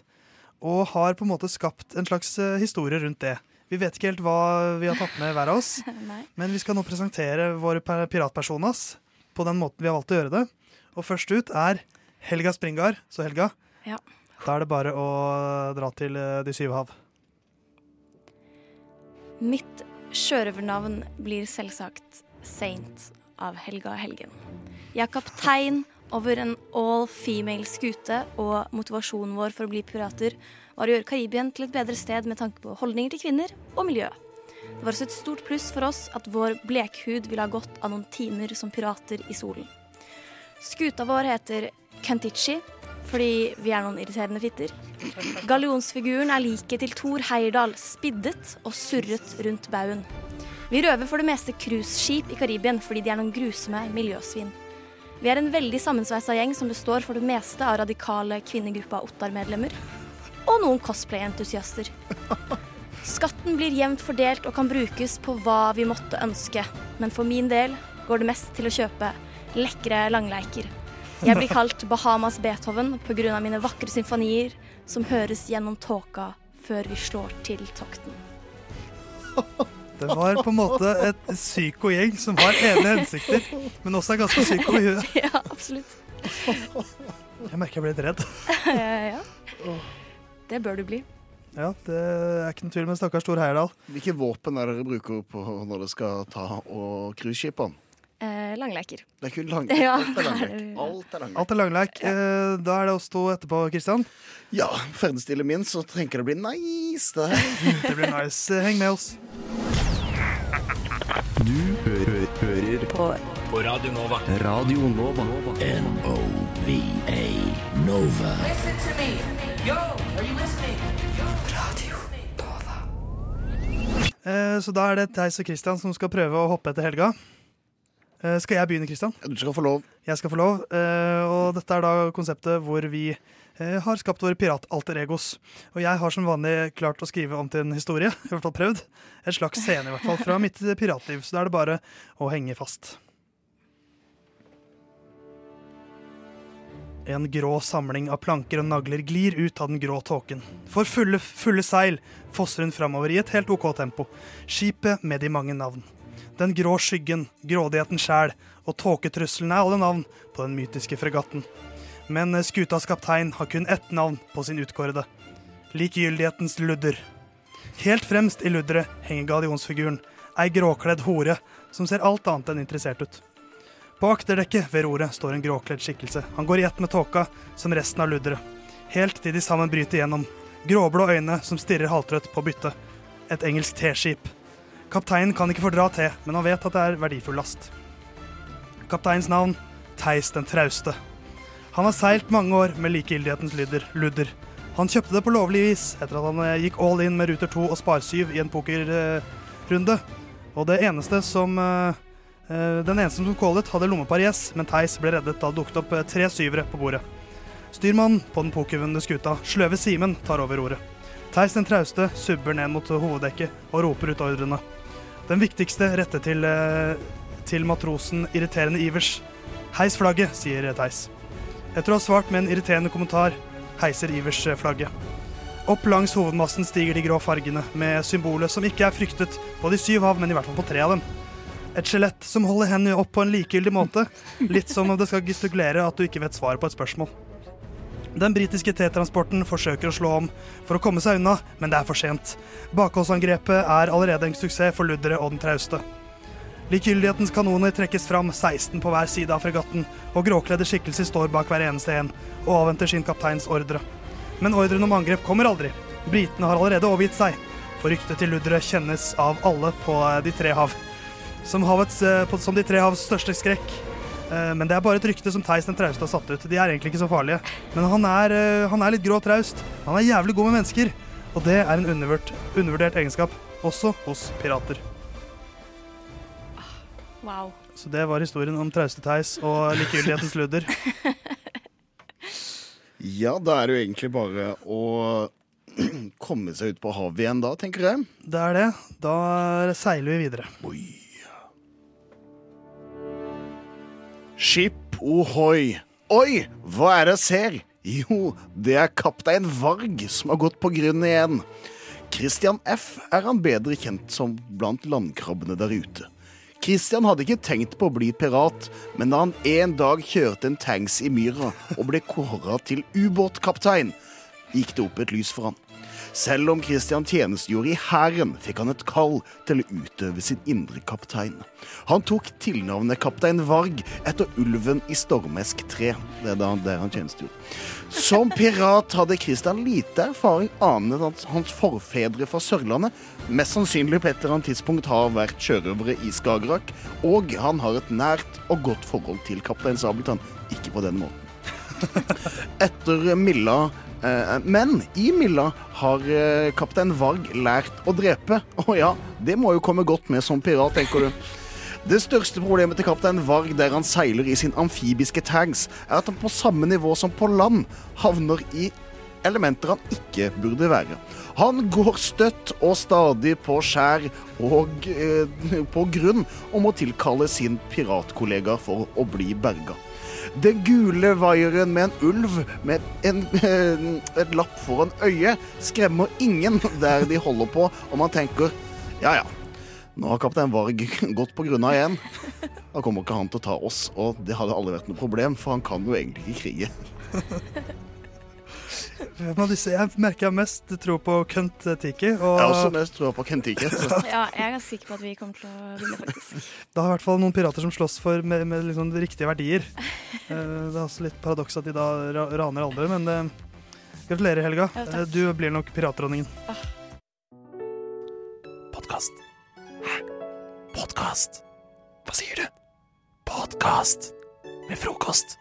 M: Og har på en måte skapt en slags eh, historie rundt det. Vi vet ikke helt hva vi har tatt med hver av oss.
L: Nei.
M: Men vi skal nå presentere våre per- piratpersonas på den måten vi har valgt å gjøre det. Og først ut er Helga Springard. Så Helga,
L: *laughs* Ja.
M: da er det bare å dra til eh, De syv hav.
L: Mitt sjørøvernavn blir selvsagt Saint av Helga Helgen. Jeg er kaptein over en all-female-skute, og motivasjonen vår for å bli pirater var å gjøre Karibien til et bedre sted med tanke på holdninger til kvinner og miljø. Det var også et stort pluss for oss at vår blekhud ville ha gått av noen timer som pirater i solen. Skuta vår heter Kantichi fordi vi er noen irriterende fitter. Gallionsfiguren er liket til Thor Heyerdahl, spiddet og surret rundt baugen. Vi røver for det meste cruiseskip i Karibien fordi de er noen grusomme miljøsvin. Vi er en veldig sammensveisa gjeng som består for det meste av radikale kvinnegruppa Ottar-medlemmer. Og noen cosplay-entusiaster. Skatten blir jevnt fordelt og kan brukes på hva vi måtte ønske. Men for min del går det mest til å kjøpe lekre langleiker. Jeg blir kalt Bahamas Beethoven pga. mine vakre symfonier som høres gjennom tåka før vi slår til tokten.
M: Det var på en måte et psyko gjeng som har edle hensikter, men også er ganske psyko i huet.
L: *laughs* Ja, absolutt.
M: Jeg merker jeg ble litt redd.
L: ja. Det bør du bli.
M: Ja, det er ikke noe tvil med stakkars Tor Heyerdahl.
N: Hvilke våpen er det dere bruker på når dere skal ta og cruiseskipene?
L: Eh, langleker.
N: Det er kun lang...
L: Ja,
N: Alt er
L: det er det.
N: langleik.
L: *laughs*
N: Alt er langleik.
M: Alt er langleik. Eh, Da er det oss to etterpå, Kristian.
N: Ja, ferdigstiller min, så trenger det å bli nice. Det, her.
M: *laughs* det blir nice. Eh, Heng med oss.
O: Du hører, hører på. på Radio Nova. Radio Nova. N-O-V-A Nova.
P: Listen to me. Yo, are you listening? Radio.
M: Eh, Så da er det Theis og Kristian som skal prøve å hoppe etter helga. Eh, Skal jeg begynne, Kristian?
N: Du skal få lov.
M: Jeg skal få lov. eh, Og dette er da konseptet hvor vi eh, har skapt våre piratalter egos. Og jeg har som vanlig klart å skrive om til en historie. *laughs* I hvert fall prøvd. En slags scene, i hvert fall, fra mitt eh, piratliv. Så da er det bare å henge fast. En grå samling av planker og nagler glir ut av den grå tåken. For fulle, fulle seil fosser hun framover i et helt OK tempo. Skipet med de mange navn. Den grå skyggen, grådigheten sjæl og tåketrusselen er alle navn på den mytiske fregatten. Men skutas kaptein har kun ett navn på sin utkårede. Likegyldighetens ludder. Helt fremst i ludderet henger gallionsfiguren, ei gråkledd hore som ser alt annet enn interessert ut. På akterdekket ved roret står en gråkledd skikkelse. Han går i ett med tåka, som resten av ludderet. Helt til de sammen bryter gjennom. Gråblå øyne som stirrer halvtrøtt på byttet. Et engelsk teskip. Kapteinen kan ikke fordra te, men han vet at det er verdifull last. Kapteinens navn Theis den trauste. Han har seilt mange år med likegyldighetens ludder. ludder. Han kjøpte det på lovlig vis etter at han eh, gikk all in med Ruter 2 og Spar 7 i en pokerrunde. Og det eneste som eh, eh, Den eneste som callet, hadde lommepar i S, men Theis ble reddet da det dukket opp eh, tre syvere på bordet. Styrmannen på den pokervunne skuta, sløve Simen, tar over roret. Theis den trauste subber ned mot hoveddekket og roper ut ordrene. Den viktigste rette til, eh, til matrosen irriterende Ivers. Heis flagget, sier Theis. Etter å ha svart med en irriterende kommentar, heiser Ivers eh, flagget. Opp langs hovedmassen stiger de grå fargene, med symbolet som ikke er fryktet på de syv hav, men i hvert fall på tre av dem. Et skjelett som holder hendene opp på en likegyldig måte, litt som om det skal gestikulere at du ikke vet svaret på et spørsmål. Den britiske T-transporten forsøker å slå om for å komme seg unna, men det er for sent. Bakholdsangrepet er allerede en suksess for ludderet og den trauste. Likegyldighetens kanoner trekkes fram, 16 på hver side av fregatten, og gråkledde skikkelser står bak hver eneste en og avventer sin kapteins ordre. Men ordren om angrep kommer aldri. Britene har allerede overgitt seg, for ryktet til ludderet kjennes av alle på eh, de tre hav. Som, havets, eh, på- som de tre havs største skrekk Eh, Men det er bare et rykte som Theis den trauste har satt ut. De er egentlig ikke så farlige. Men han er, eh, han er litt grå og traust. Han er jævlig god med mennesker. Og det er en undervurdert, undervurdert egenskap, også hos pirater.
L: Wow.
M: Så det var historien om trauste Theis og likegyldighetens ludder.
N: Ja, da er det jo egentlig bare å *clears throat* komme seg ut på havet igjen da, tenker jeg.
M: Det er det. Da seiler vi videre.
N: Skip ohoi. Oi, hva er det jeg ser? Jo, det er kaptein Varg som har gått på grunn igjen. Christian F. er han bedre kjent som blant landkrabbene der ute. Christian hadde ikke tenkt på å bli pirat, men da han en dag kjørte en tanks i myra og ble kåra til ubåtkaptein, gikk det opp et lys for han. Selv om Christian tjenestegjorde i hæren, fikk han et kall til å utøve sin indre kaptein. Han tok tilnavnet Kaptein Varg etter ulven i Stormesk 3, det er da- der han tjenestegjorde. Som pirat hadde Christian lite erfaring annet enn at hans forfedre fra Sørlandet mest sannsynlig på et eller annet tidspunkt har vært sjørøvere i Skagerrak, og han har et nært og godt forhold til Kaptein Sabeltann, ikke på den måten etter Milla. eh, Men i Milla har eh, kaptein Varg lært å drepe. Å ja, det må jo komme godt med som pirat, tenker du. Det største problemet til kaptein Varg der han seiler i sin amfibiske tags, er at han på samme nivå som på land havner i elementer han ikke burde være. Han går støtt og stadig på skjær og eh, på grunn, og må tilkalle sin piratkollega for å bli berga. Den gule vaieren med en ulv med en, eh, et lapp foran øyet skremmer ingen der de holder på, og man tenker ja ja, nå har kaptein Varg *laughs* gått på grunna igjen. Da kommer ikke han til å ta oss, og det hadde aldri vært noe problem, for han kan jo egentlig ikke krige.
M: Hvem av disse jeg merker jeg har mest tro på Kønt Tiki. Og
N: Jeg
F: Ah.
N: har også mest trua på Kentiken.
L: Ja, jeg er ganske sikker på at vi kommer til å vinne, faktisk.
M: Det er i hvert fall noen pirater som slåss for med, med liksom de riktige verdier. Eh, Det er også litt paradoks at de da ra raner andre, men eh, gratulerer, Helga.
L: Ja, takk. Ah.
M: Eh, Du blir nok piratdronningen.
F: Podkast. Hæ? Podkast? Hva sier du? Podkast med frokost.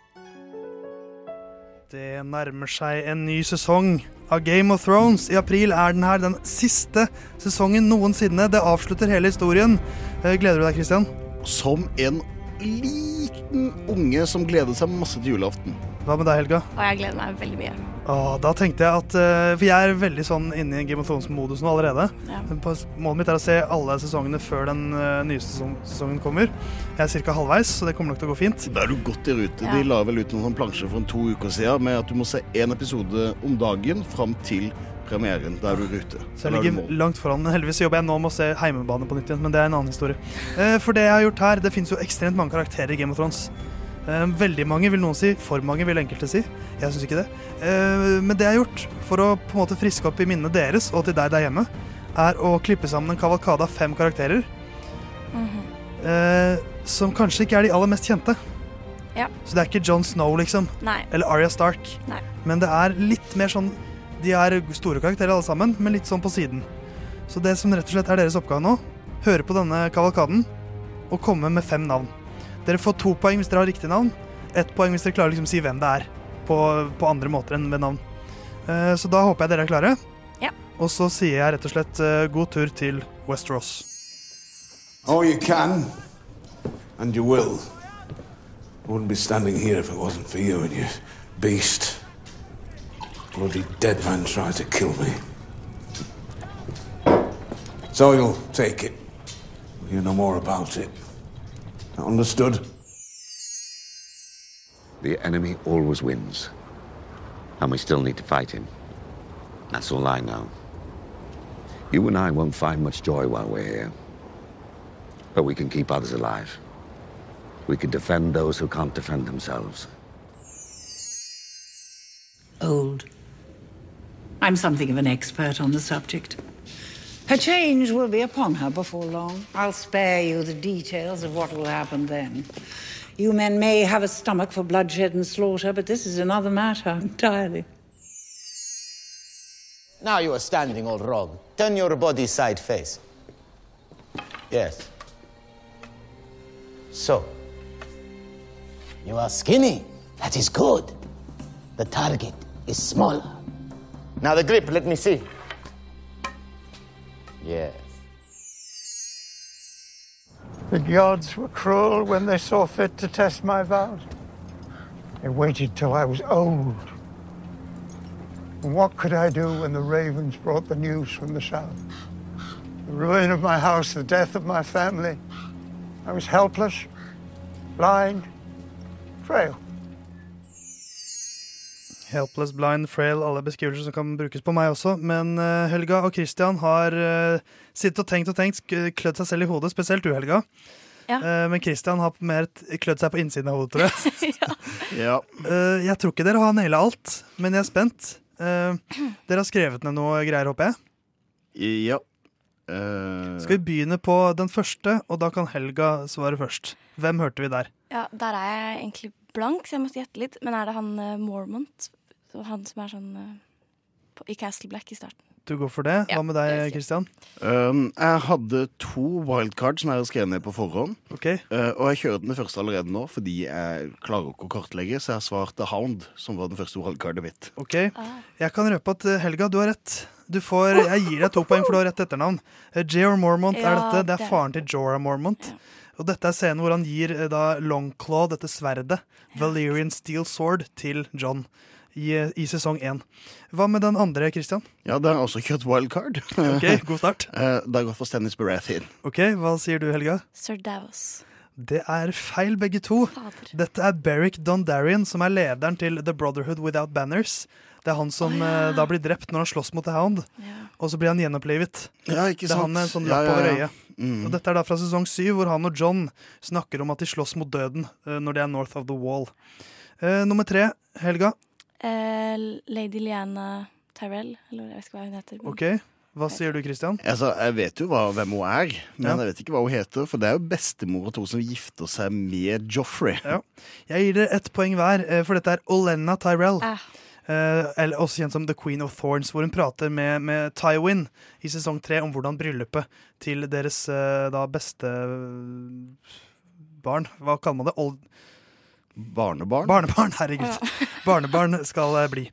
M: Det nærmer seg en ny sesong av Game of Thrones. I april er den her den siste sesongen noensinne. Det avslutter hele historien. Eh, Gleder du deg, Christian?
N: Som en liten unge som gleder seg masse til julaften.
M: Hva med deg, Helga?
L: Og jeg gleder meg veldig mye.
M: Åh, da tenkte jeg at eh, For jeg er veldig sånn inne i Game of Thrones-modus nå allerede.
L: Ja.
M: På- Målet mitt er å se alle sesongene før den eh, nye sesong sesongen kommer. Jeg er ca. halvveis, så det kommer nok til å gå fint.
N: Da er du godt i rute. De
M: Ja.
N: la vel ut noen sånn plansjer for en to uker siden med at du må se én episode om dagen fram til premieren. Da er du i rute.
M: Så
N: Da
M: jeg
N: er du i
M: ligger
N: mål.
M: langt foran. men Heldigvis jobber jeg nå med å se Heimebane på nytt igjen, men det er en annen historie. Eh, For det jeg har gjort her, det finnes jo ekstremt mange karakterer i Game of Thrones. Eh, Veldig mange, vil noen si. For mange, vil enkelte si. Jeg syns ikke det. Eh, Men det jeg har gjort for å på en måte friske opp i minnene deres, og til deg der hjemme, er å klippe sammen en kavalkade av fem karakterer
L: Mhm.
M: eh, som kanskje ikke er de aller mest kjente.
L: Ja.
M: Så det er ikke John Snow, liksom.
L: Nei.
M: Eller Arya Stark.
L: Nei.
M: Men det er litt mer sånn De er store karakterer alle sammen, men litt sånn på siden. Så det som rett og slett er deres oppgave nå, høre på denne kavalkaden og komme med fem navn. Dere får to poeng hvis dere har riktig navn, ett poeng hvis dere klarer å liksom si hvem det er, på, på andre måter enn ved navn. Eh, Så da håper jeg dere er klare.
L: Ja.
M: Og så sier jeg rett og slett eh, god tur til Westeros.
J: Oh, you can, and you will. I wouldn't be standing here if it wasn't for you and your beast. Bloody dead man tried to kill me. So you'll take it. You know more about it. Understood?
Q: The enemy always wins. And we still need to fight him. That's all I know. You and I won't find much joy while we're here. But we can keep others alive. We can defend those who can't defend themselves.
R: old. I'm something of an expert on the subject. Her change will be upon her before long. I'll spare you the details of what will happen then. You men may have a stomach for bloodshed and slaughter, but this is another matter *laughs* entirely.
S: Now you are standing all wrong. Turn your body side face. Yes. So. You are skinny. That is good. The target is smaller. Now the grip, let me see. Yes.
T: The gods were cruel when they saw fit to test my vows. They waited till I was old. And what could I do when the ravens brought the news from the south? The ruin of my house, the death of my family. I was helpless, blind, frail.
M: Helpless, blind, frail, alle beskrivelser som kan brukes på meg også. Men eh, Helga og Christian har eh, sittet og tenkt og tenkt, sk- klødd seg selv i hodet, spesielt du, Helga. Eh, men Christian har mer t- klødd seg på innsiden av hodet, tror jeg.
N: Ja.
M: Eh, jeg tror ikke dere har naila alt, men jeg er spent. Eh, dere har skrevet ned noe greier, håper jeg.
N: Ja. Eh,
M: Skal vi begynne på den første, og da kan Helga svare først. Hvem hørte vi der?
L: Ja, der er jeg egentlig blank, så jeg måtte gjette litt. Men er det han eh, Mormont? Så Han som er sånn eh, på, i Castle Black i starten.
M: Du går for det. Hva med deg, Christian?
N: Um, jeg hadde to wildcard som jeg har skrevet ned på forhånd.
M: Ok.
N: Uh, og jeg kjører den første allerede nå, fordi jeg klarer ikke å kartlegge, så jeg svarte Hound, som var den første wildcardet mitt.
M: Ok, Jeg kan røpe at eh, Helga, du har rett. Du får, jeg gir deg to poeng, for du har rett etternavn. Eh, J.R. Mormont er
N: Ja,
M: dette. Det
N: det.
M: er faren til Jorah Mormont. Og dette er scenen hvor han gir eh, da Longclaw, dette sverdet, Valerian Steel Sword, til John i, eh, i sesong én. Hva med den andre, Christian?
N: Ja, det er også kjøtt wildcard. Eh,
M: Ok, god start.
N: *laughs* Uh, det har gått for Stennis Baratheon.
M: Ok, Hva sier du, Helga?
L: Sir Davos.
M: Det er feil, begge to. Dette er Beric Dondarian, som er lederen til The Brotherhood Without Banners. Det er han som eh, da blir drept når han slåss mot The Hound, og så blir han gjenopplivet.
N: Ja, ikke
M: Det er han
N: sant.
M: med en sånn
N: Ja,
M: lapp
N: ja,
M: over
N: ja.
M: øyet.
N: Mm.
M: Og dette er da fra sesong syv, hvor han og John snakker om at de slåss mot døden eh, når de er north of the wall. Eh, nummer tre, Helga.
L: Eh, Lady Liana Tyrell, eller jeg vet ikke hva hun heter. men-
M: Ok, Hva sier du, Christian?
N: Altså, jeg vet jo hva, hvem hun er, men
M: Ja.
N: jeg vet ikke hva hun heter. For det er jo bestemora til hun som gifter seg med Joffrey.
M: Ja. Jeg gir dere ett poeng hver, eh, for dette er Olenna Tyrell. Eh, eller også kjent som The Queen of Thorns, hvor hun prater med, med Tywin i sesong tre om hvordan bryllupet til deres eh, da beste eh, barn Hva kaller man det? Old
N: Barnebarn?
M: Barnebarn, herregud. Barnebarn skal eh, bli.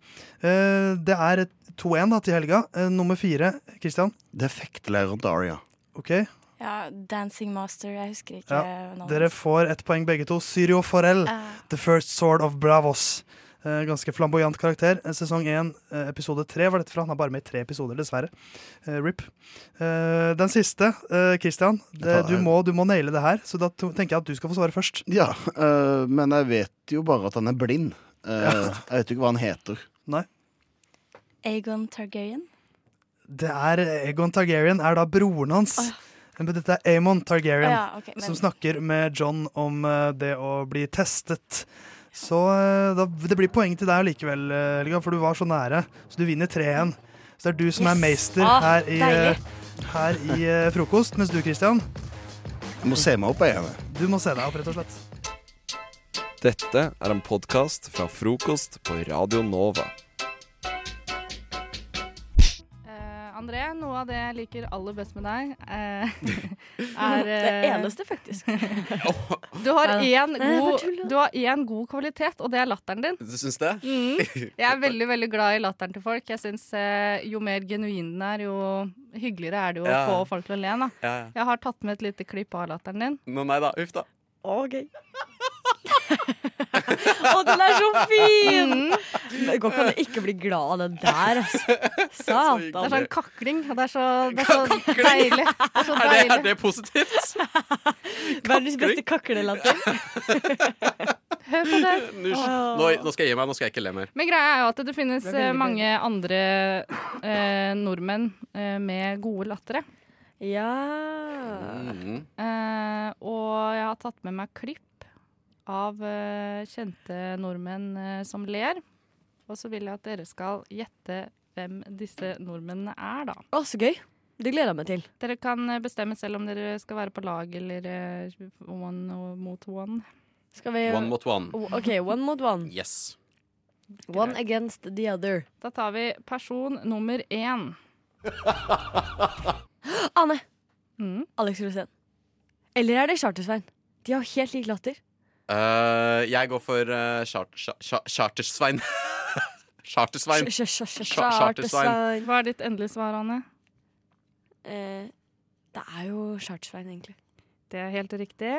M: Eh, det er et 2-1 da til helga. Eh, nummer fire, Christian.
N: Det er fektelæreren til Aria.
M: OK.
L: Ja, Dancing Master, jeg husker ikke
M: Ja,
L: navnet.
M: dere får ett poeng begge to. Syrio Forell,
L: Ah.
M: The First Sword of Bravos. Eh, Ganske flamboyant karakter. Eh, Sesong én, eh, episode tre var dette fra. Han er bare med i tre episoder, dessverre. Eh, Rip. Eh, Den siste, eh, Christian. Det, du, må, du må naile det her, så da to- tenker jeg at du skal få svare først.
N: Ja, øh, men jeg vet jo bare at han er blind. Eh, Jeg vet jo ikke hva han heter.
L: Aegon Targaryen.
M: Det er Egon Targaryen er da broren hans. Men dette er Amon Targaryen,
L: Å ja, ok, men-
M: som snakker med John om eh, det å bli testet. Så eh, da, det blir poeng til deg likevel, eh, Helga, for du var så nære. Så du vinner 3-1. Så det er du som er
N: Yes.
M: meister
N: Ah,
M: her i, eh,
N: deilig.
M: her i eh, frokost, mens du, Christian,
N: Jeg må se meg opp, jeg.
M: du må se deg opp, rett og slett.
A: Dette er en podkast fra frokost på Radio Nova.
U: Eh, André, noe av det jeg liker aller best med deg,
C: *laughs*
U: eh, er
C: Det
U: eh,
C: eneste,
A: *laughs*
C: faktisk.
U: Du har
C: Nei da.
U: én
C: Nei, jeg bare
U: god,
C: tuller.
U: du har én god kvalitet, og det er latteren din.
A: Du syns det? *laughs*
U: Mm. Jeg er veldig veldig glad i latteren til folk. Jeg synes, eh, Jo mer genuin den er, jo hyggeligere er det jo
A: Ja.
U: å få folk til å le. Da.
A: Ja, ja.
U: Jeg har tatt med et lite klipp av latteren din.
A: Med meg, da. Uff, da.
U: Å, *laughs* gøy.
C: Å, den er så fin!
U: Mm.
C: Det går ikke an å ikke bli glad av den der, altså. Satan.
U: Det er sånn kakling, og det er så, det er så deilig. Det er så
A: Er det,
U: deilig.
A: er det positivt?
C: Verdens beste kaklelatter.
U: Hør på det.
A: *laughs* Nusj. Nå, nå skal jeg gi meg. Nå skal jeg ikke le mer.
U: Men greia er jo at det finnes
A: Det er veldig
U: eh, mange andre eh, nordmenn eh, med gode lattere. Ja eh, Og jeg har tatt med meg klipp av eh, kjente nordmenn eh, som ler. Og så vil jeg at dere skal gjette hvem disse nordmennene er, da.
C: Å, så gøy. Det gleder jeg meg til.
U: Dere kan eh, bestemme selv om dere skal være på lag eller eh, one og- mot one.
C: Skal vi
A: One mot one.
C: O- OK, one mot
U: Sånn.
C: one.
A: Yes.
C: One against the other.
U: Da tar vi person nummer én.
C: Ane. Alex Rosén. Eller er det Charter-Svein? De har helt lik latter.
A: Eh, jeg går for eh, chart, cha- cha- Chartersvein. *laughs* Chartersvein. Cha- Chartersvein.
U: Hva er ditt endelige svar, Anne?
C: Eh, det er jo Charter-Svein, egentlig.
U: Det er helt riktig.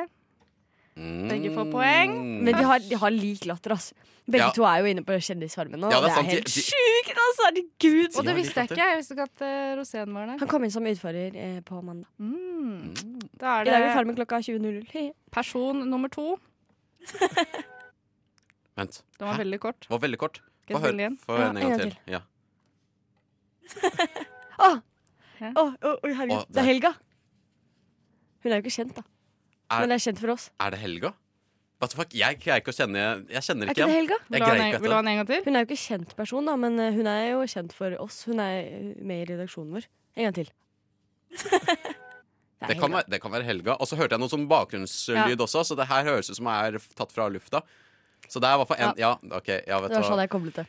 A: Mm.
U: Begge får poeng.
C: Men de har, de har lik latter, altså. Begge
A: Ja.
C: to er jo inne på Kjendisfarmen nå.
A: Ja, det er
C: det er,
A: sant. De-
C: helt
A: de-
C: sjukt, altså! Herregud!
U: Og det visste jeg ikke. Jeg visste ikke at eh, Rosén var der.
C: Han kom inn som utfordrer eh, på mandag.
U: Da Mm. er
C: I dag er
U: det-
C: Farmen klokka 20.00.
U: Person nummer to.
A: Vent.
U: Den var
A: Hæ?
U: veldig kort.
A: Var veldig kort.
U: Skal jeg
A: Få høre-
U: spille igjen?
A: Få høre
U: Ja,
A: den en gang til. Ja.
C: Å, Å, å, å, herregud.
A: Å,
C: det er Helga. Hun er jo ikke kjent, da.
A: Er-
C: Men hun er kjent for oss.
A: Er det Helga? What the fuck? Jeg greier ikke å kjenne Jeg kjenner
C: Er
A: ikke
C: ikke det Helga?
A: Jeg greier ikke dette.
U: en e- gang til?
C: Hun er jo ikke kjent person, da, men eh, hun er jo kjent for oss. Hun er eh, med i redaksjonen vår. En gang
A: *laughs*
C: til.
A: Det kan, være, det kan være Helga. Og så hørte jeg noe sånn bakgrunnslyd
C: Ja.
A: også, så det her høres ut som jeg er tatt fra lufta. Så det er i hvert fall en Ja, OK. Ja, vet
C: Det var
A: du
C: sånn
A: hva.
C: jeg koblet det.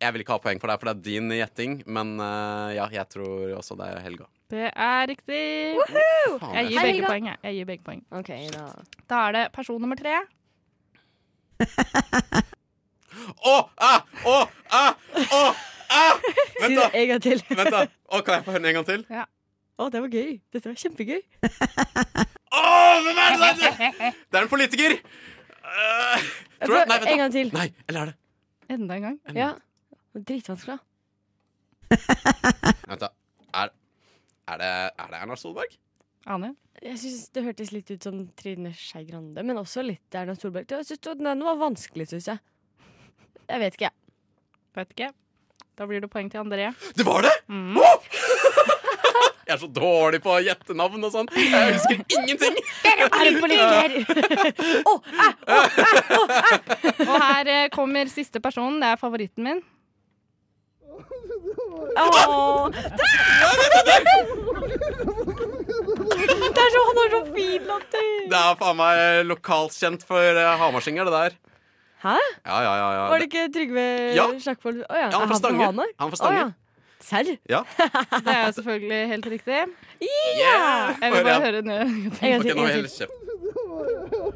A: Jeg vil ikke ha poeng for deg, for det er din gjetting, men eh, ja, jeg tror også det er Helga.
U: Det er riktig.
A: Faen,
U: Jeg
A: jeg-
U: gir
A: Hei,
U: begge
A: Helga.
U: poeng. Jeg. jeg gir begge poeng.
C: da.
U: er det person nummer tre.
A: Å! Æ! Å! Æ! Å!
C: *laughs*
A: Æ! Vent, da!
C: En gang til.
A: Vent da. Å, kan jeg få høre den en gang til?
U: Ja.
C: Å, det var gøy. Dette var kjempegøy.
A: *laughs* Å, hvem er det der? Det er en politiker! Eh, tror jeg, nei, vent da.
C: En gang til.
A: Nei, eller er det
U: Enda en gang.
C: Ja. Dritvanskelig, da.
A: Vent, da. Er, er, det, er det Erna Solberg?
U: Ane?
C: Jeg synes Det hørtes litt ut som Trine Skei Grande, men også litt Erna Solberg. Jeg synes det- Den var vanskelig, syns jeg. Jeg vet ikke, jeg.
U: Vet ikke. Da blir det poeng til André.
A: Det var det?! Åh! Jeg er så dårlig på å gjette navn og sånn. Jeg husker ingenting!
U: Dere er *laughs* politiker!
C: ah,
U: Og her eh, kommer siste person. Det er favoritten min. Åh.
C: Det er så, han har så fin latter!
A: Det er faen meg eh, lokalt kjent for eh, hamarsinger, det der.
C: Hæ?
A: Ja, ja, ja, ja.
C: Var det ikke Trygve
A: Ja.
C: Slagsvold Å ja.
A: Ja, han
C: er
A: fra Stange.
C: Hamar?
A: Han er fra Stange.
C: Å, ja.
A: *laughs*
C: Serr?
A: Ja.
U: Det er jo
A: altså-
U: selvfølgelig helt riktig.
A: Yeah!
U: Jeg vil bare
A: Bare-
U: høre den en gang
A: Ok, nå holder jeg
U: til.
A: kjeft.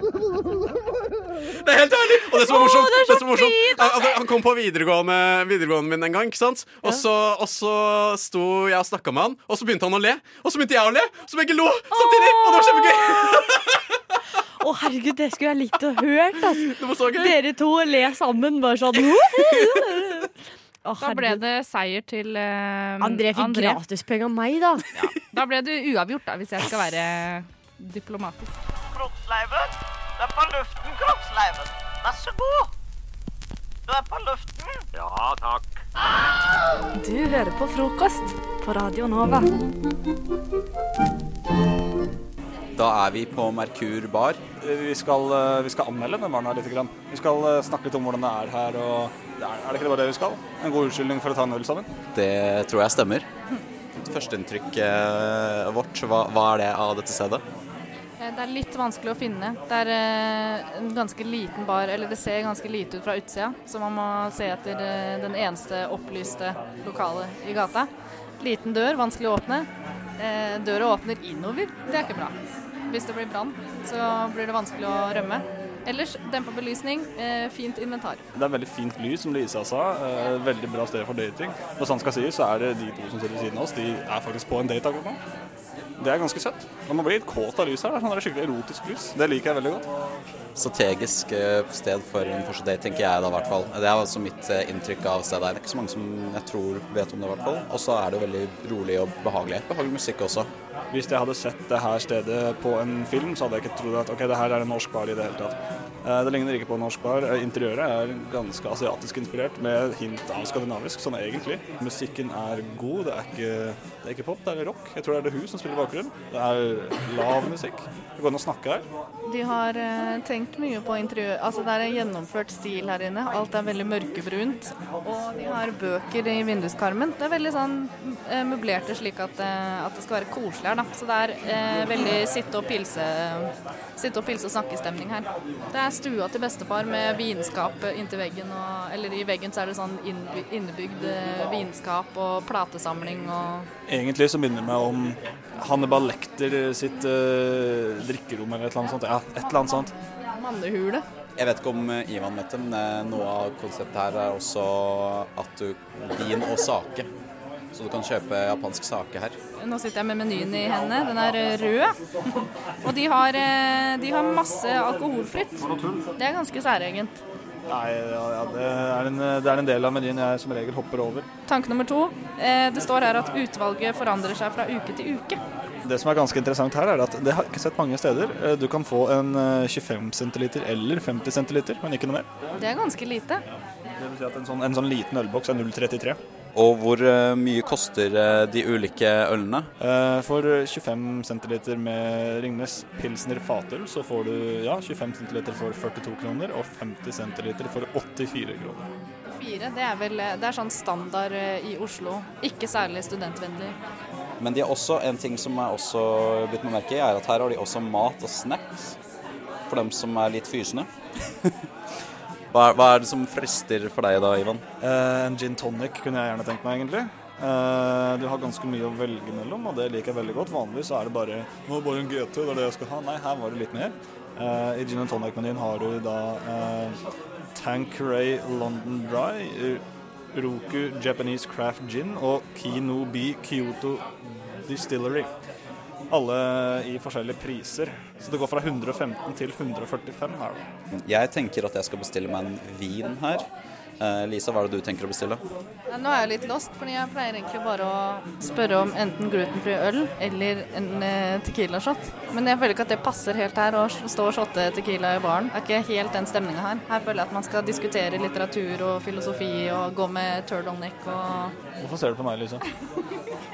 A: Det er helt ærlig! Og det som er
U: Åh,
A: morsomt,
U: det er så
A: som er morsomt
U: fint!
A: han- han, han kom på videregående, videregående min en gang, ikke sant? Og så, og så sto jeg og snakka med han, og så begynte han å le. Og så begynte jeg å le, så begge lo samtidig! Og det var kjempegøy!
C: Å, herregud, det skulle jeg likt å hørt.
A: *laughs*
C: ass.
A: gøy.
C: Dere to le sammen, bare sånn. Å,
U: Da ble
C: herregud.
U: det seier til eh,
C: André fikk
U: André.
C: gratispenger av meg, da.
U: Da ble det uavgjort, da, hvis jeg skal være diplomatisk.
P: Kroppsleiven. Det er på luften, kroppsleiven. Vær så god. Du er på luften. Ja, takk.
V: Du hører på frokost på Radio Nova.
W: Da er vi på Merkur bar. Vi skal, eh, vi skal anmelde den baren her litt. Grann. Vi skal eh, snakke litt om hvordan det er her. Og Det er, er det ikke det bare det vi skal? En god unnskyldning for å ta en øl sammen?
F: Det tror jeg stemmer. Førsteinntrykket eh, vårt, hva, hva er det av dette stedet?
U: Eh, Det er litt vanskelig å finne. Det er eh, en ganske liten bar, eller det ser ganske lite ut fra utsida, så man må se etter eh, den eneste opplyste lokalet i gata. Liten dør, vanskelig å åpne. Eh, Døra åpner innover, det er ikke bra. Hvis det blir brann, så blir det vanskelig å rømme. Ellers dempa belysning, eh, fint inventar.
W: Det er veldig fint lys som Lisa sa. eh, Veldig bra sted for dating. Og sant skal sies, så er det de to som sitter ved siden av oss, de er faktisk på en date akkurat nå. Det er ganske søtt. Og Man blir litt kåt av lyset her. da. Sånn er det skikkelig erotisk lys. Det liker jeg veldig godt.
F: Strategisk eh, sted for en første date, tenker jeg da i hvert fall. Det er også mitt eh, inntrykk av stedet her. Det er ikke så mange som jeg tror vet om det i hvert fall. Og så er det jo veldig rolig og behagelig. Behagelig musikk også.
W: Hvis jeg hadde sett det her stedet på en film, så hadde jeg ikke trodd at ok, det her er en norsk bar i det hele tatt. Eh, Det ligner ikke på en norsk bar. Eh, Interiøret er ganske asiatisk inspirert, med hint av skandinavisk, sånn egentlig. Musikken er god, det er ikke, det er ikke pop, det er rock. Jeg tror det er The Who som spiller i bakgrunnen. Det er lav musikk. Det går an å snakke her.
U: De har eh, tenkt mye på interiør. Altså, det er en gjennomført stil her inne. Alt er veldig mørkebrunt. Og de har bøker i vinduskarmen. Det er veldig sånn eh, møblerte slik at, eh, at det skal være koselig her, da. Så det er eh, veldig sitte og pilse Sitte og pilse og snakkestemning her. Det er stua til bestefar med vinskap inntil veggen og Eller i veggen så er det sånn innby- innebygd eh, vinskap og platesamling og
W: Egentlig så minner det meg om Hannibal Lekter sitt eh, drikkerom eller et eller annet sånt. Ja, et eller annet sånt.
U: mannehule.
F: Jeg vet ikke om eh, Ivan vet det, men eh, noe av konseptet her er også at du vin og sake. Så du kan kjøpe japansk sake her.
U: Nå sitter jeg med menyen i hendene. Den er eh, rød. Og de har, eh, de har masse alkoholfritt. Det er ganske særegent.
W: Nei, ja, ja, det, er en, det er en del av menyen jeg som regel hopper over.
U: Tanke nummer to. eh, Det står her at utvalget forandrer seg fra uke til uke.
W: Det som er ganske interessant her, er at det har jeg ikke sett mange steder. Eh, Du kan få en eh, 25 centiliter eller 50 centiliter, men ikke noe mer.
U: Det er ganske lite.
W: Det vil si at en sånn, en sånn liten ølboks er 0,33.
F: Og hvor eh, mye koster eh, de ulike ølene?
W: Eh, For 25 centiliter med Ringnes Pilsner fatøl, så får du ja, 25 centiliter for 42 kroner og 50 centiliter for 84 kroner.
U: Fire, det er vel eh, det er sånn standard eh, i Oslo. Ikke særlig studentvennlig.
F: Men de har også, en ting som jeg også bitt meg merke i, er at her har de også mat og snacks. For dem som er litt fysende. *laughs* hva, er, hva er det som frister for deg da, Ivan?
W: Eh, En gin tonic kunne jeg gjerne tenkt meg, egentlig. Eh, Du har ganske mye å velge mellom, og det liker jeg veldig godt. Vanligvis så er det bare Nå er det bare en GT, det er det jeg skal ha. Nei, her var det litt mer. Eh, I gin and tonic-menyen har du da eh, Tanqueray London Dry, Ur- Roku Japanese Craft Gin og Kino B Kyoto Distillery. Alle i forskjellige priser. Så det går fra 115 til 145 her, da.
F: Jeg tenker at jeg skal bestille meg en vin her. Eh, Lisa, hva er det du tenker å bestille?
U: Ja, nå er jeg litt lost, fordi jeg pleier egentlig bare å spørre om enten glutenfri øl eller en eh, tequila shot. Men jeg føler ikke at det passer helt her å stå og shotte tequila i baren. Det er ikke helt den stemninga her. Her føler jeg at man skal diskutere litteratur og filosofi og gå med turtleneck og
W: Hvorfor ser du på meg, Lisa?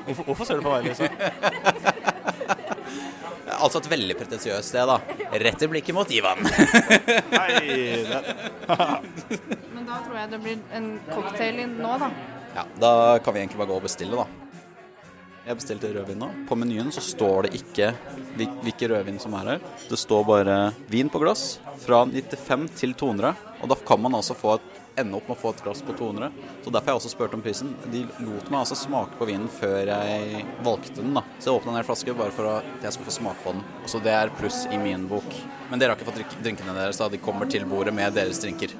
W: Hvorfor, hvorfor ser du på meg, Lisa?
F: *laughs* Altså et veldig pretensiøst sted, da. Rett i blikket mot Ivan.
W: Hei, *laughs*
U: Men da tror jeg det blir en cocktail i- nå, da.
F: Ja, da kan vi egentlig bare gå og bestille, da. Jeg bestilte rødvin nå. På menyen så står det ikke hvil- hvilken rødvin som er her. Det står bare vin på glass fra 95 til 200. Og da kan man altså få et, ende opp med å få et glass på 200. Så derfor har jeg også spurte om prisen. De lot meg altså smake på vinen før jeg valgte den, da. Så jeg åpna en hel flaske bare for å- at jeg skulle få smake på den. Så det er pluss i min bok. Men dere har ikke fått drink- drinkene deres, da. De kommer til bordet med deres drinker.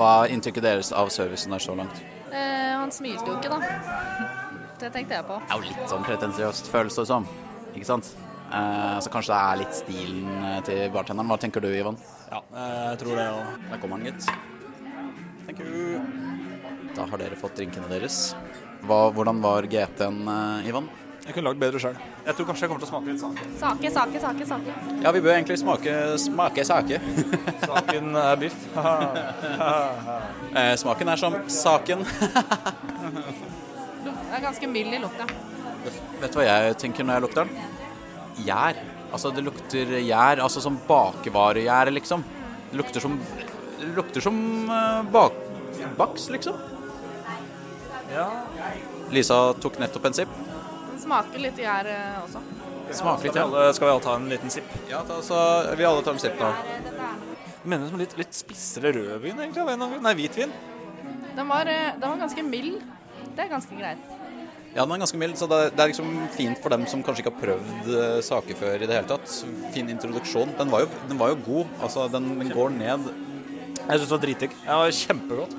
F: Hva er inntrykket deres av servicen der så langt?
U: Eh, han smilte jo ikke, da. *laughs* Det tenkte jeg på.
F: Det er jo litt sånn pretensiøst føles det som, ikke sant? Eh, så kanskje det er litt stilen eh, til bartenderen. Hva tenker du, Ivan? Ja, jeg tror det òg. Der kom han, gitt. Thank you. Da har dere fått drinkene deres. Hva, hvordan var GT-en, eh, Ivan? Jeg kunne lagd bedre sjøl. Jeg tror kanskje jeg kommer til å smake litt sånn.
U: Sake, sake, sake. sake.
F: Ja, vi bør egentlig smake smake sake. *laughs* Saken er biff. *laughs* eh, smaken er som saken. *laughs*
U: Det er ganske mild i lukta.
F: Vet du hva jeg tenker når jeg lukter den? Gjær. Altså, det lukter gjær. Altså som bakevaregjær, liksom. Det lukter som det lukter som eh, bak, baks, liksom.
W: Ja.
F: Lisa tok nettopp en sipp.
U: Den smaker litt gjær eh, også.
F: Smaker litt,
W: Skal vi alle- Skal vi alle ta en liten sipp?
F: Ja, så vi alle tar en sipp nå.
W: Mener du som litt, litt spissere rødvin, egentlig? av en eller annen grunn? Nei, hvitvin.
U: Den var, eh, den var ganske mild. Det er ganske greit.
F: Ja, den er ganske mild, så det, det er liksom fint for dem som kanskje ikke har prøvd eh, saker før i det hele tatt. Fin introduksjon. Den var jo, den var jo god. Altså, den, den går ned. Jeg syns det var dritdigg. Ja, kjempegodt.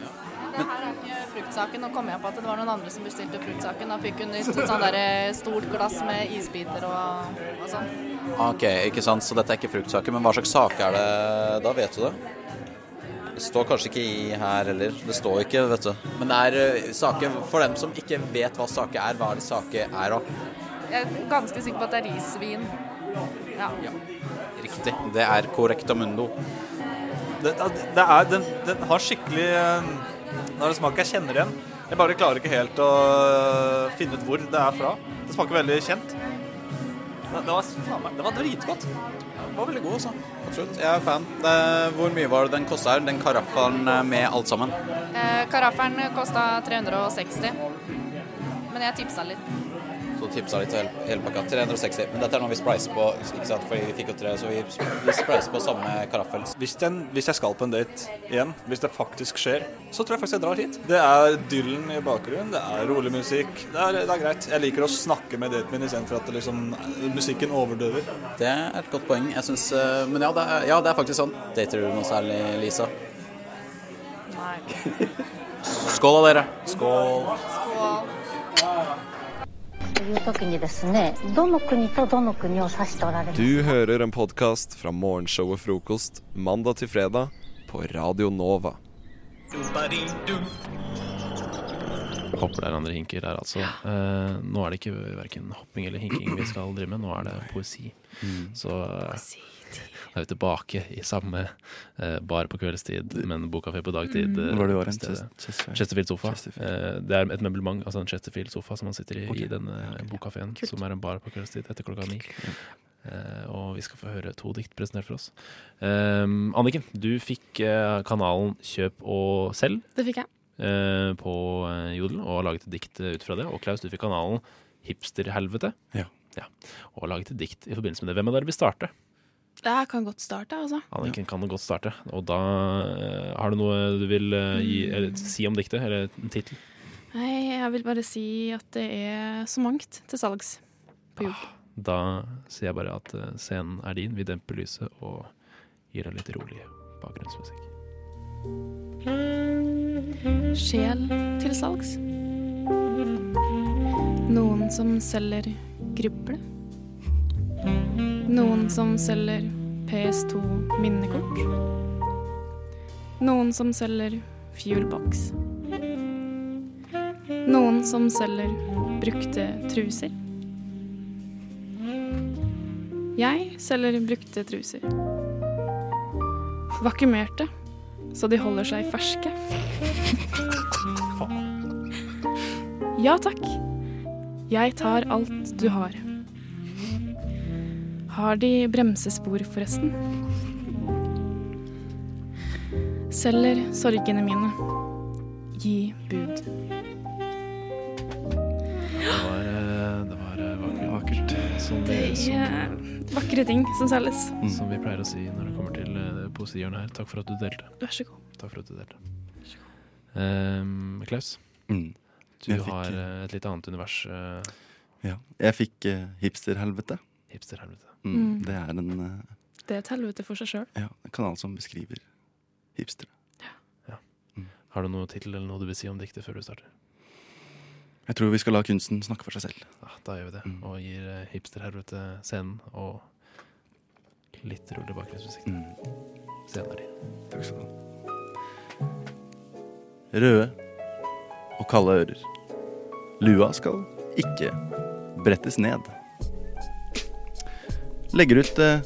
U: Det her er ikke fruktsaken. Nå kom jeg på at det var noen andre som bestilte fruktsaken. Da fikk hun et sånt der eh, stort glass med isbiter og, og sånn.
F: Ok, ikke sant, så dette er ikke fruktsaker, men hva slags sak er det da, vet du det? Det står kanskje ikke i her heller, det står ikke, vet du. Men det er eh, sake, for dem som ikke vet hva sake er, hva er det sake er da?
U: Jeg er ganske sikker på at det er risvin. Ja.
F: Riktig, det er correcto mundo.
W: Det, det er, den, den har skikkelig eh, Når det smaker jeg kjenner igjen. Jeg bare klarer ikke helt å eh, finne ut hvor det er fra. Det smaker veldig kjent. Det, det var, faen meg, det var dritgodt.
F: Den var veldig god, altså. Absolutt, jeg er fan. Det, hvor mye var det den kostet her, den karafferen eh, med alt sammen?
U: Eh, karafferen kosta 360. Men jeg tipsa litt.
F: Så tipsa litt til hel- helpakka, 360, men dette er noe vi splicer på, ikke sant, fordi vi fikk jo tre, så vi, vi splicer på samme karaffel.
W: Hvis jeg, hvis jeg skal på en date igjen, hvis det faktisk skjer, så tror jeg faktisk jeg drar hit. Det er Dylan i bakgrunnen, det er rolig musikk. Det er, det er greit. Jeg liker å snakke med daten min istedenfor at det liksom, musikken overdøver.
F: Det er et godt poeng. Jeg synes, eh, men ja det, er, ja, det er faktisk sånn. Dater du noe særlig, Lisa?
U: Nei.
F: Skål da, dere. Skål.
E: という時にですねどの国とどの国を指しておられますか
H: Du hører en podkast fra morgenshowet Frokost mandag til fredag på Radio Nova.
I: Hopper der andre hinker der, altså. Eh, nå er det ikke verken hopping eller hinking vi skal drive med, nå er det poesi.
H: Mm.
I: Så eh, da er vi tilbake i samme eh, bar på kveldstid, men bokkafé på dagtid.
W: Mm.
I: eh,
W: Hvor var det i år, en
I: stedet.
W: Chester- Chester-
I: Chesterfield-sofa. Eh, det er et møblement, altså en Chesterfield-sofa som man sitter i
W: Ok.
I: i denne bokkafeen, som er en bar på kveldstid etter klokka ni. Eh, og vi skal få høre to dikt presentert for oss. Eh, Anniken, du fikk eh, kanalen Kjøp og selg
X: Det fikk jeg.
I: eh, på eh, Jodel og har laget et dikt eh, ut fra det. Og Klaus, du fikk kanalen Hipsterhelvete. Ja. Og har laget et dikt i forbindelse med det. Hvem av dere vil starte?
X: Det her kan godt starte, altså.
I: Anniken kan jo godt starte. Og da eh, har du noe du vil eh, gi,
W: Mm.
I: eller, si om diktet, eller en tittel?
X: Nei, jeg vil bare si at det er så mangt til salgs på jul.
I: Da sier jeg bare at eh, scenen er din. Vi demper lyset og gir deg litt rolig bakgrunnsmusikk.
U: Ah.
X: Sjel til salgs. Noen som selger gruble. Noen som selger PS2 minnekort. Noen som selger fuelbox. Noen som selger brukte truser. Jeg selger brukte truser. Vakuumerte, så de holder seg ferske. Ja takk. Jeg tar alt du har. Har de bremsespor, forresten? Selger sorgene mine. Gi bud.
I: Det var, eh, det var eh, vakkert. vakkert som,
X: Det er vakre ting som selges.
Y: Mm.
I: som, som vi pleier å si når det kommer til eh, poesihjørnet her. Takk for at du delte.
X: Vær så god.
I: Takk for at du delte. Ehm, Klaus, du
Y: Mm. Jeg fikk-
I: har eh, et litt annet univers. eh,
Y: Ja. Jeg fikk eh, hipsterhelvete.
I: Hipsterhelvete.
Y: Mm.
X: Mm.
Y: Det er en eh,
X: Det er et helvete for seg sjøl.
Y: ja, en kanal som beskriver hipstere. Mm.
I: Har du noe tittel eller noe du vil si om diktet før du starter?
Y: Jeg tror vi skal la kunsten snakke for seg selv.
I: Ja, da gjør vi det.
Y: Mm.
I: Og gir eh, hipsterhelvete scenen og litt rolig bakgrunnsmusikk. Scenen er din.
Y: Mm. Takk skal du ha. Røde og kalde ører. Lua skal ikke brettes ned. Legger ut eh,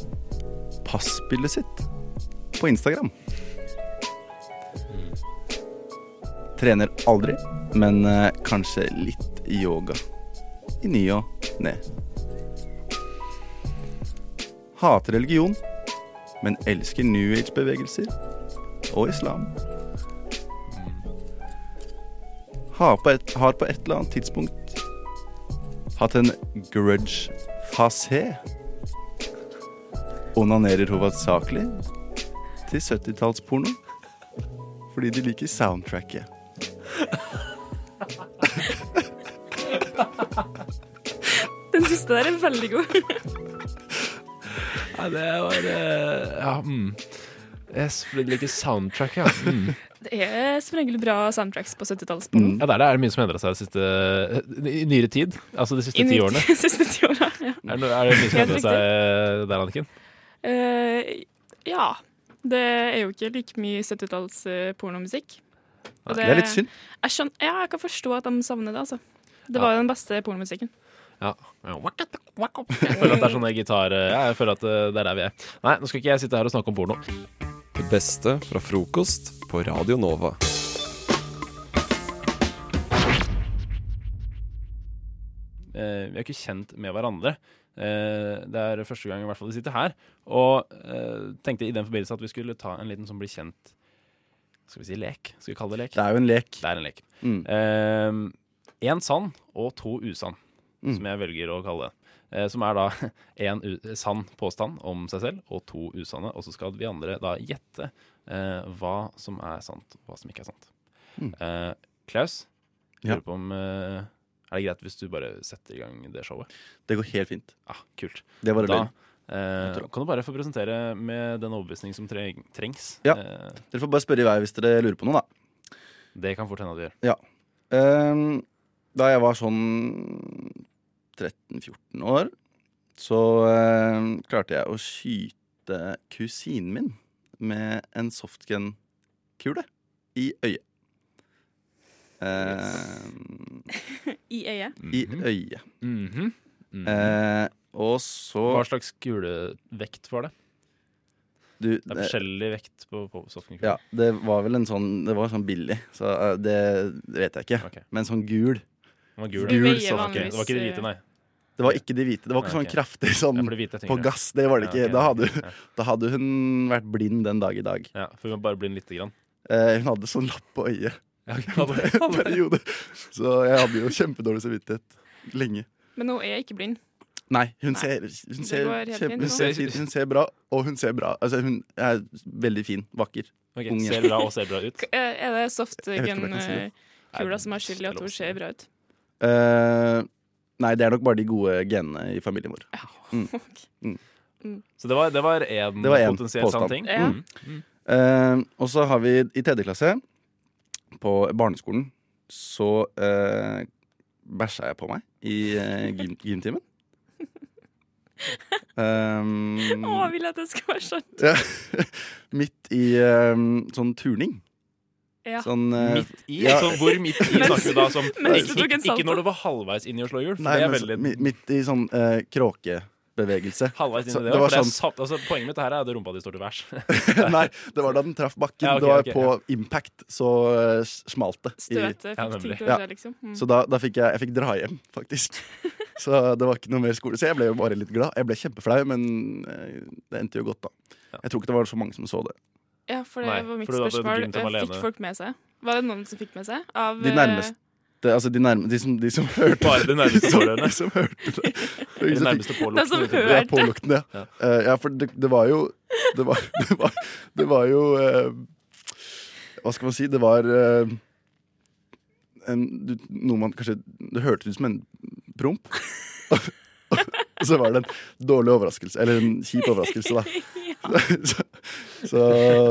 Y: passbildet sitt på Instagram. Trener aldri, men eh, kanskje litt yoga i ny og ne. Hater religion, men elsker new age-bevegelser og islam. har på, et, har på et eller annet tidspunkt hatt en grudge-fasé. Onanerer hovedsakelig til 70-tallsporno fordi de liker soundtracket.
X: *laughs* Den siste der er veldig god. *laughs*
I: Nei, det var eh, Ja. Mm. Jeg spiller ikke soundtrack, ja.
Y: *laughs*
I: Mm.
X: Det er som regel bra soundtracks på 70-tallet.
Y: Mm.
I: Ja, det er det. Er det mye som endra seg det siste, eh, i nyere tid? Altså de siste
X: I
I: ti
X: nyere *laughs*
I: årene?
X: tid, siste ti årene, ja.
I: Er, det, no- er det mye som
X: Helt
I: endra seg der, Anniken?
X: Eh, ja. Det er jo ikke like mye 70-talls eh, pornomusikk. Og
I: Nei, det er litt synd.
X: Jeg skjøn- ja, jeg kan forstå at de savner det, altså. Det var jo den beste pornomusikken.
I: Ja. Jeg føler at det er sånne gitar... Ja, jeg føler at eh, det er der vi er. Nei, nå skal ikke jeg sitte her og snakke om porno.
H: Det beste fra frokost på Radio Nova.
I: Eh, vi er ikke kjent med hverandre. Eh, det er første gang i hvert fall vi sitter her. Og eh, tenkte i den forbindelse at vi skulle ta en liten som blir kjent Skal vi si lek? Skal vi kalle det lek?
Y: Det er jo en lek.
I: Det er en lek.
Y: Mm.
I: Eh, en sann og to usann,
Y: Mm.
I: som jeg velger å kalle det. Eh, som er da *laughs* en u sann påstand om seg selv og to usanne. Og så skal vi andre da gjette eh, hva som er sant, og hva som ikke er sant.
Y: Mm.
I: Eh, Klaus, jeg
Y: Ja.
I: lurer på om eh, Er det greit hvis du bare setter i gang det showet?
Y: Det går helt fint.
I: Ah, kult.
Y: Det var det
I: da,
Y: løgn.
I: eh, kan du bare få presentere med den overbevisning som treng trengs?
Y: Ja.
I: Eh,
Y: Dere får bare spørre i vei hvis dere lurer på noe, da.
I: det kan fort hende at vi gjør.
Y: Ja. Ehm, da jeg var sånn 13-14 år, så ehm, klarte jeg å skyte kusinen min med en softgun-kule i øyet. Ehm,
X: *laughs* I øyet.
Y: I øyet.
I: Mhm.
Y: Eh, og så
I: Hva slags kulevekt var det?
Y: Du,
I: Det er forskjellig vekt på, på softgun.
Y: Ja, det var vel en sånn Det var sånn billig, så eh, det vet jeg ikke. Men sånn gul.
I: Den var gul, ja.
Y: gul
I: Du veier
Y: softgun.
I: vanligvis, Det var ikke de hvite, nei.
Y: Det var ikke de hvite. Det var ikke
I: Nei,
Y: sånn
I: ok.
Y: kraftig sånn
I: Ja, for de hvite er
Y: på
I: tyngre.
Y: gass. Det var det
I: Ja,
Y: ikke.
I: ok,
Y: da,
I: ja,
Y: hadde,
I: ok, ja.
Y: da hadde hun vært blind den dag i dag.
I: Ja, for vi må bare blinde lite grann.
Y: Eh, hun hadde sånn lapp på øyet. *laughs* En periode. Så jeg hadde jo kjempedårlig samvittighet lenge.
X: Men hun er ikke blind.
Y: Nei, hun ser, hun ser,
X: går helt
Y: kjempe,
X: fint,
Y: hun, ser
X: nå.
Y: fin, hun ser bra, og hun ser bra. Altså, hun er veldig fin, vakker.
I: Ok,
Y: ung
I: ser
Y: jente.
I: bra og ser
Y: *laughs*
I: bra ut.
X: K- eh, Er det
Y: Jeg vet ikke om jeg kan si det.
X: softgun-kula som er skyld i at hun ser bra ut?
Y: Eh, nei, det er nok bare de gode genene i familien vår.
X: *laughs*
Y: Mm. Mm.
I: Så det var, det var en
Y: Det var én
I: potensielt sann
Y: påstand.
I: ting.
X: Ja.
I: Mm. Mm.
Y: Eh, og så har vi i tredje klasse, på barneskolen, så uh, bæsja jeg på meg i eh, gym-
X: *laughs*
Y: gymtimen. Eh, Um,
X: Å,
Y: *laughs*
X: jeg vil at det skal være sånn.
Y: ja, midt i eh, sånn turning.
X: Ja.
Y: Sånn, eh,
I: Midt i?
Y: ja.
I: Sånn, hvor midt
Y: *laughs*
I: i
Y: Mens-
I: snakker vi da? Som,
Y: mens du
I: ikke,
Y: tok en salto.
I: ikke når du var halvveis inn i å slå hjul, for
Y: Nei,
I: det er
Y: men
I: veldig
Y: så- mi- midt i sånn eh, kråkebevegelse.
I: Halvveis inn i
Y: Så
I: det,
Y: det var
I: for det er
Y: sånn
I: sant- altså, Poenget mitt her er at rumpa di står til
Y: *laughs*
I: værs. *laughs*
Y: Nei, det var da den traff bakken.
I: Ja, ok,
Y: det var
I: ok,
Y: på impact, så eh, s- smalt det. i-
X: Støtet fikk Ja, nemlig. ting til å skje, liksom. Mm.
Y: Så da, da fikk jeg, jeg fikk dra hjem,
X: *laughs*
Y: faktisk. Så det var ikke noe mer skole. Så jeg ble jo bare litt glad. Jeg ble kjempeflau, men eh, det endte jo godt, da. Jeg tror ikke det var så mange som så det.
X: Ja, for det
Y: Nei,
X: var mitt
Y: for du hadde
X: spørsmål. Eh,
Y: grunn til å være
X: Fikk
Y: alene.
X: folk med seg? Var det noen som fikk med seg? Av,
I: eh,
X: eh,
Y: De nærmeste Altså de, nærme, de, som, de som hørte
I: Bare de nærmeste
Y: som,
I: pårørende.
Y: *laughs* de som hørte det.
I: De nærmeste påluktene, De som tenker jeg.
Y: Ja, påluktene, ja. Eh, ja, for det, det var jo Det var, *laughs* det var, det var jo eh, Hva skal man si? Det var eh, en, du, noe man kanskje Det hørtes ut som en promp. *laughs* Og så var det en dårlig overraskelse. Eller en kjip
I: *laughs*
Y: overraskelse, da. *laughs* Så, så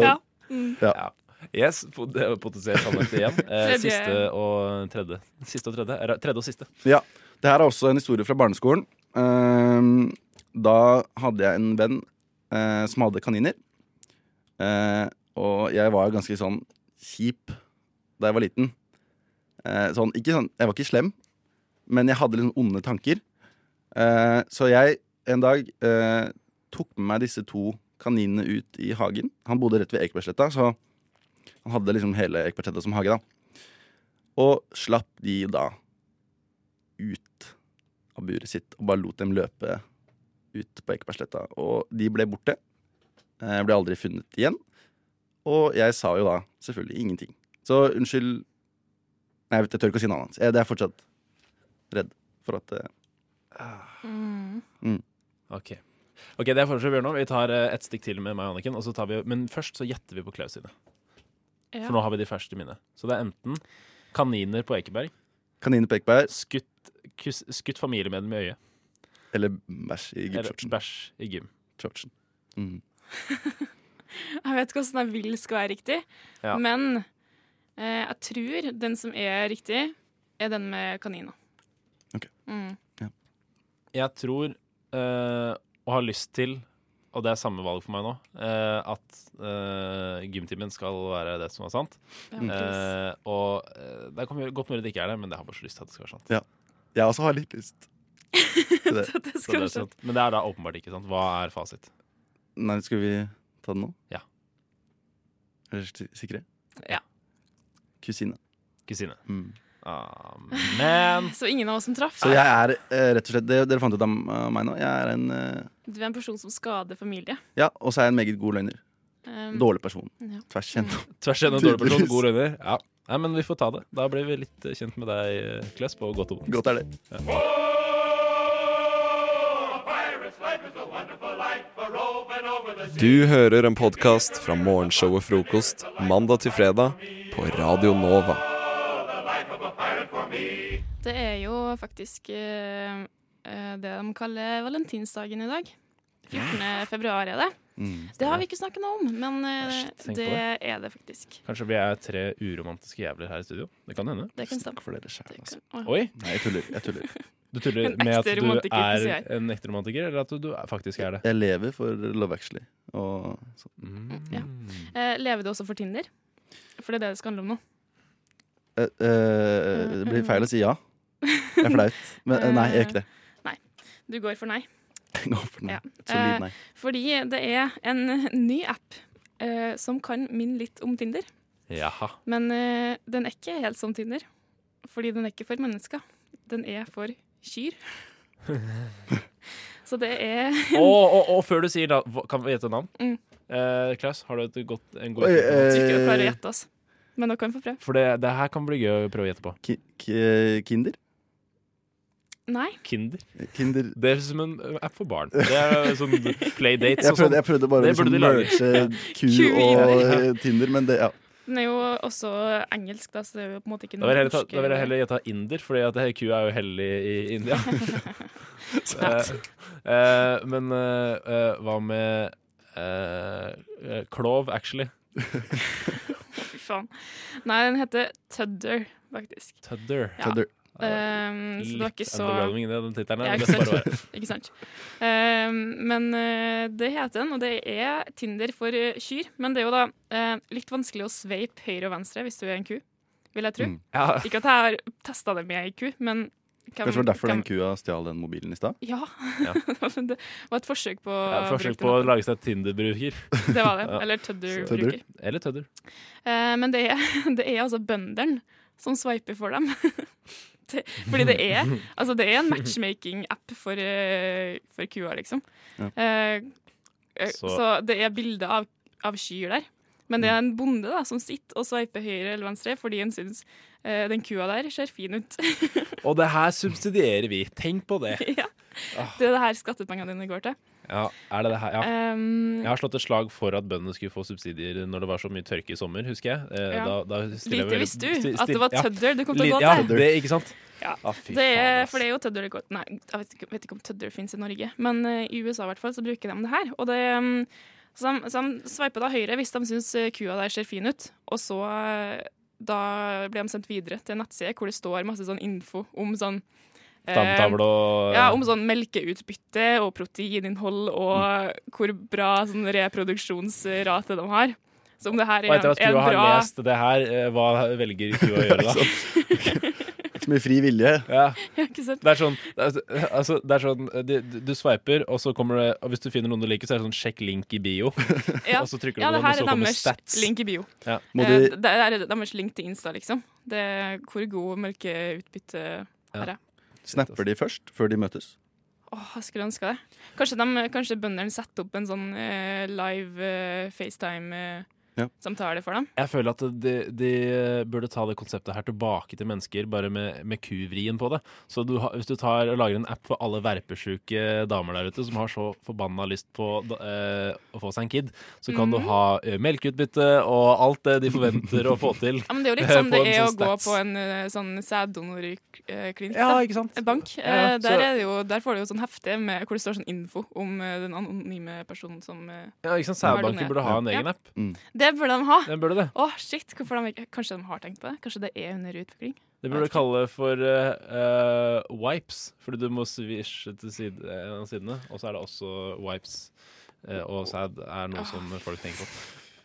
I: Ja.
X: Mm.
Y: ja.
I: Yes, po- det er potensielt anlagt igjen. Eh,
X: Tredje.
I: siste og tredje. Siste og tredje. Ra- Tredje og siste.
Y: Ja, Det her er også en historie fra barneskolen. Ehm, da hadde jeg en venn eh, som hadde kaniner. Eh, og jeg var ganske sånn kjip da jeg var liten. Eh, sånn, ikke sånn, jeg var ikke slem, men jeg hadde litt sånn onde tanker. Eh, så jeg en dag eh, tok med meg disse to kaninene ut i hagen. Han bodde rett ved Ekebergsletta, så han hadde liksom hele Ekebergsletta som hage. da. Og slapp de da ut av buret sitt og bare lot dem løpe ut på Ekebergsletta. Og de ble borte. Eh, ble aldri funnet igjen. Og jeg sa jo da selvfølgelig ingenting. Så unnskyld Nei, jeg vet, jeg tør ikke å si navnet hans. Jeg jeg er fortsatt redd for at eh, mm.
I: Ok. Ok, Det er foreslått, Bjørnov. Vi tar eh, et stikk til med meg og Anniken. Og så tar vi, men først så gjetter vi på Klaus sine.
X: Ja.
I: For nå har vi de ferske i minne. Så det er enten kaniner på Ekeberg,
Y: Kaniner på Ekeberg.
I: skutt, kus, skutt familiemedlem i øyet,
Y: Eller bæsj i
I: eller
Y: gymshortsen.
I: bæsj i gym.
Y: Shortsen. Mm.
X: Jeg vet ikke hvordan jeg vil skal være riktig,
I: Ja.
X: men eh, jeg tror den som er riktig, er den med kanina. Mm.
I: Jeg tror, eh, og har lyst til, og det er samme valg for meg nå, eh, at eh, gymtimen skal være det som er sant.
Y: Ja, Mm.
I: Eh, og eh, det er godt mulig det ikke er det, men jeg har bare så lyst til at det skal være
Y: *laughs*
I: sant.
Y: Ja. Jeg også har litt lyst. til det.
I: Så det er sant. Men det er da åpenbart ikke sant. Hva er fasit?
Y: Nei, skal vi ta den nå?
I: Ja.
Y: Er dere si- sikre?
I: Ja.
Y: Kusine.
I: Kusine.
Y: Mm.
I: Men
X: Så ingen av oss som traff.
Y: Så jeg er eh, rett og slett det, Dere fant ut av eh, meg nå. Jeg er en eh,
X: Du er en person som skader familie.
Y: Ja, og så er jeg en meget god løgner.
X: Um,
Y: dårlig person.
X: ja. Mm.
Y: Tvers gjennom.
I: Tvers gjennom dårlig person,
Y: Tydeligvis.
I: god røyner. Ja. Nei, men vi får ta det. Da blir vi litt eh, kjent med deg, eh, Klaus, på godt og vondt.
Y: Godt er det.
I: Ja.
H: Du hører en podkast fra morgenshowet Frokost mandag til fredag på Radio Nova.
X: Det er jo faktisk eh, eh, det de kaller valentinsdagen i dag. 14. februar er det. Det har vi ikke snakket noe om, men eh,
I: Mm. tenk på
X: det
I: det.
X: er det faktisk.
I: Kanskje vi er tre uromantiske jævler her i studio? Det kan hende.
X: Det kan stemme.
Y: For dere sjæl, altså.
X: Åh.
I: Oi!
Y: Nei, jeg tuller. Jeg tuller.
I: Du tuller
X: En
I: med
X: ekte
I: at du
X: romantiker,
I: er
X: sier jeg.
I: en ekte romantiker, eller at du er, faktisk er det?
Y: Jeg lever for Love Actually. Og sånn.
I: Mm.
X: Ja. Eh, lever du også for Tinder? For det er det det skal handle om nå.
Y: Eh, eh, det blir feil å si ja. Det er flaut. Men eh, nei, jeg gjør ikke det.
X: Nei. Du går for nei.
Y: *laughs* Jeg går for nei.
X: Ja.
Y: Et solid nei.
X: Eh, fordi det er en ny app eh, som kan minne litt om Tinder. *laughs*
I: Jaha.
X: Men eh, den er ikke helt som Tinder. Fordi den er ikke for mennesker. Den er for *laughs* kyr. Så det er *laughs*
I: Og, og, og før du sier da, hva- kan vi gjette navn?
X: Mm.
I: Eh, Klaus, har du et godt, en god
Y: Oi,
X: Jeg tror ikke du
Y: eh,
X: klarer å gjette, altså. Men dere kan få prøve.
I: For det, det her kan bli gøy å prøve å gjette på.
Y: Ki ki kinder?
X: Nei.
I: Kinder.
Y: Kinder
I: Det er som en app for barn. Det er
Y: *laughs*
I: sånn playdates
Y: Jeg
I: og sånn.
Y: prøvde, jeg prøvde bare å
I: Det
Y: liksom
I: burde de lage.
Y: merge
I: *laughs*
Y: Q
X: Q i
Y: og
X: det.
Y: eh, Tinder, men det ja.
X: Den er jo også engelsk, da, så det er jo på en måte ikke
I: Da vil jeg heller ta-
X: norsk,
I: da vil jeg
X: eller-
I: heller gjette inder, fordi at det- ku er jo hellig i
X: *laughs*
I: India.
X: Sant.
I: Eh, eh, men eh, eh, hva med eh, eh, klov, actually?
X: Fy faen. Nei, den heter Tudder, faktisk.
I: Tudder.
X: Ja. Tudder. Um, så det var
I: Litt
X: ikke så
I: underwhelming, det, den tittelen her,
X: Ja,
I: men
X: ikke
I: det får
X: sant. *laughs*
I: være.
X: ikke sant. Um, men eh, det heter den, og det er Tinder for eh, kyr. Men det er jo da eh, litt vanskelig å sveipe høyre og venstre hvis du er en ku, vil jeg tro.
B: Mm. Ja.
X: *laughs* Ikke at jeg har testa det med ei ku, men hvem-
B: Kanskje det var derfor
X: hvem-
B: den kua stjal den mobilen i stad?
X: Ja. *laughs*
B: Ja.
X: det var et forsøk på å
I: Ja, Forskjell
X: bruke
I: på
X: den.
I: å lage seg Tinder-bruker.
X: Det var det.
I: Ja.
X: Eller Tudder
I: Så-
X: bruker.
I: Eller Tødder.
X: Eh, men det er, *laughs* det er altså bøndene som sveiper for dem. *laughs* Det- Fordi det er, altså det er en matchmaking-app for, eh, for kua, liksom.
D: Ja.
X: Eh, eh,
D: Så-
X: så. det er bilde av, av kyr der. Men det er en bonde da, som sitter og sveiper høyre eller venstre fordi han syns eh, den kua der ser fin ut. *laughs*
I: Og det her subsidierer vi. Tenk på det.
X: ja. Det er det her skattepengene dine går til.
I: Ja, er det det her? Ja.
X: Um,
I: jeg har slått et slag for at bøndene skulle få subsidier når det var så mye tørke i sommer, husker jeg. Eh,
X: Ja.
I: da, da stiller jeg
X: Lite
I: veldig-
X: visste du
I: sti-
X: at det
I: sti-
X: var
I: ja.
X: tødder du kom til å
I: Li-
X: gå
I: Ja,
X: til.
I: det, ikke sant?
X: Ja.
I: Ah, fy
X: det
I: faen.
X: er, for det er jo tødder det går Nei, jeg vet ikke, vet ikke om tødder finnes i Norge, men eh, i USA i hvert fall så bruker de det her. Og det, mm, så, de, så de sveiper da høyre hvis de syns kua der ser fin ut, og så eh, da blir de sendt videre til en nettside hvor det står masse sånn info om sånn eh,
I: Stamtavle og- eh,
X: Ja, om sånn melkeutbytte og proteininnhold og hvor bra sånn reproduksjonsrate de har. Så om det her
I: Og
X: er,
I: etter at
X: er
I: kua har
X: bra
I: lest det her, eh, hva velger kua å gjøre da?
B: Ikke så mye fri vilje.
I: *laughs* Ja.
X: *laughs* Ja, ikke sant?
I: Det er sånn, det er, altså, det er sånn eh, du, du sveiper, og så kommer det Og hvis du finner noen du liker, så er det sånn 'sjekk link i bio'.
X: Ja.
I: *laughs* Og så trykker du
X: ja,
I: på
X: det
I: den,
X: her
I: og så
X: er
I: kommer
X: deres
I: stats.
X: link i bio.
I: Ja.
X: Eh, det det er deres link til Insta, liksom. Det er hvor god melkeutbytte er det.
B: Snapper de først, før de møtes?
X: Åh, jeg skulle ønska det. Kanskje, de, kanskje bøndene setter opp en sånn eh, live eh,
B: Ja.
X: FaceTime-samtale for dem?
I: Jeg føler at de, de burde ta det konseptet her tilbake til mennesker, bare med, med kuvrien på det. Så du, har- hvis du tar og lager en app for alle verpesjuke damer der ute som har så forbanna lyst på da- eh, å få seg en kid, så kan du
X: Mhm.
I: ha eh, melkeutbytte og alt det de forventer å få til.
X: Ja, men Det er jo litt
I: eh,
X: sånn
I: *laughs* på
X: det
I: en
X: er å
I: sånn
X: gå
I: stats.
X: på en eh, sånn eh, sæddonorklinikk.
I: Ja, ikke sant?
X: Bank. Eh,
I: Ja, ja,
X: Der,
I: så-
X: er det jo, der får du jo sånn hefte med, hvor det står sånn info om eh, den anonyme personen som eh,
I: Ja, ikke sant?
X: har
I: Sædbanken
X: donert.
I: burde ha en
X: Ja. Mm.
I: egen app.
X: Det burde de ha.
I: Den burde det.
X: Åh, shit, hvorfor de ikke, Kanskje de har tenkt på det? Kanskje det er under utvikling?
I: Det burde du kalle for eh, eh, wipes, fordi du må svisje til side, eh, en av sidene. Og så er det også wipes eh, og sæd er noe som folk tenker på.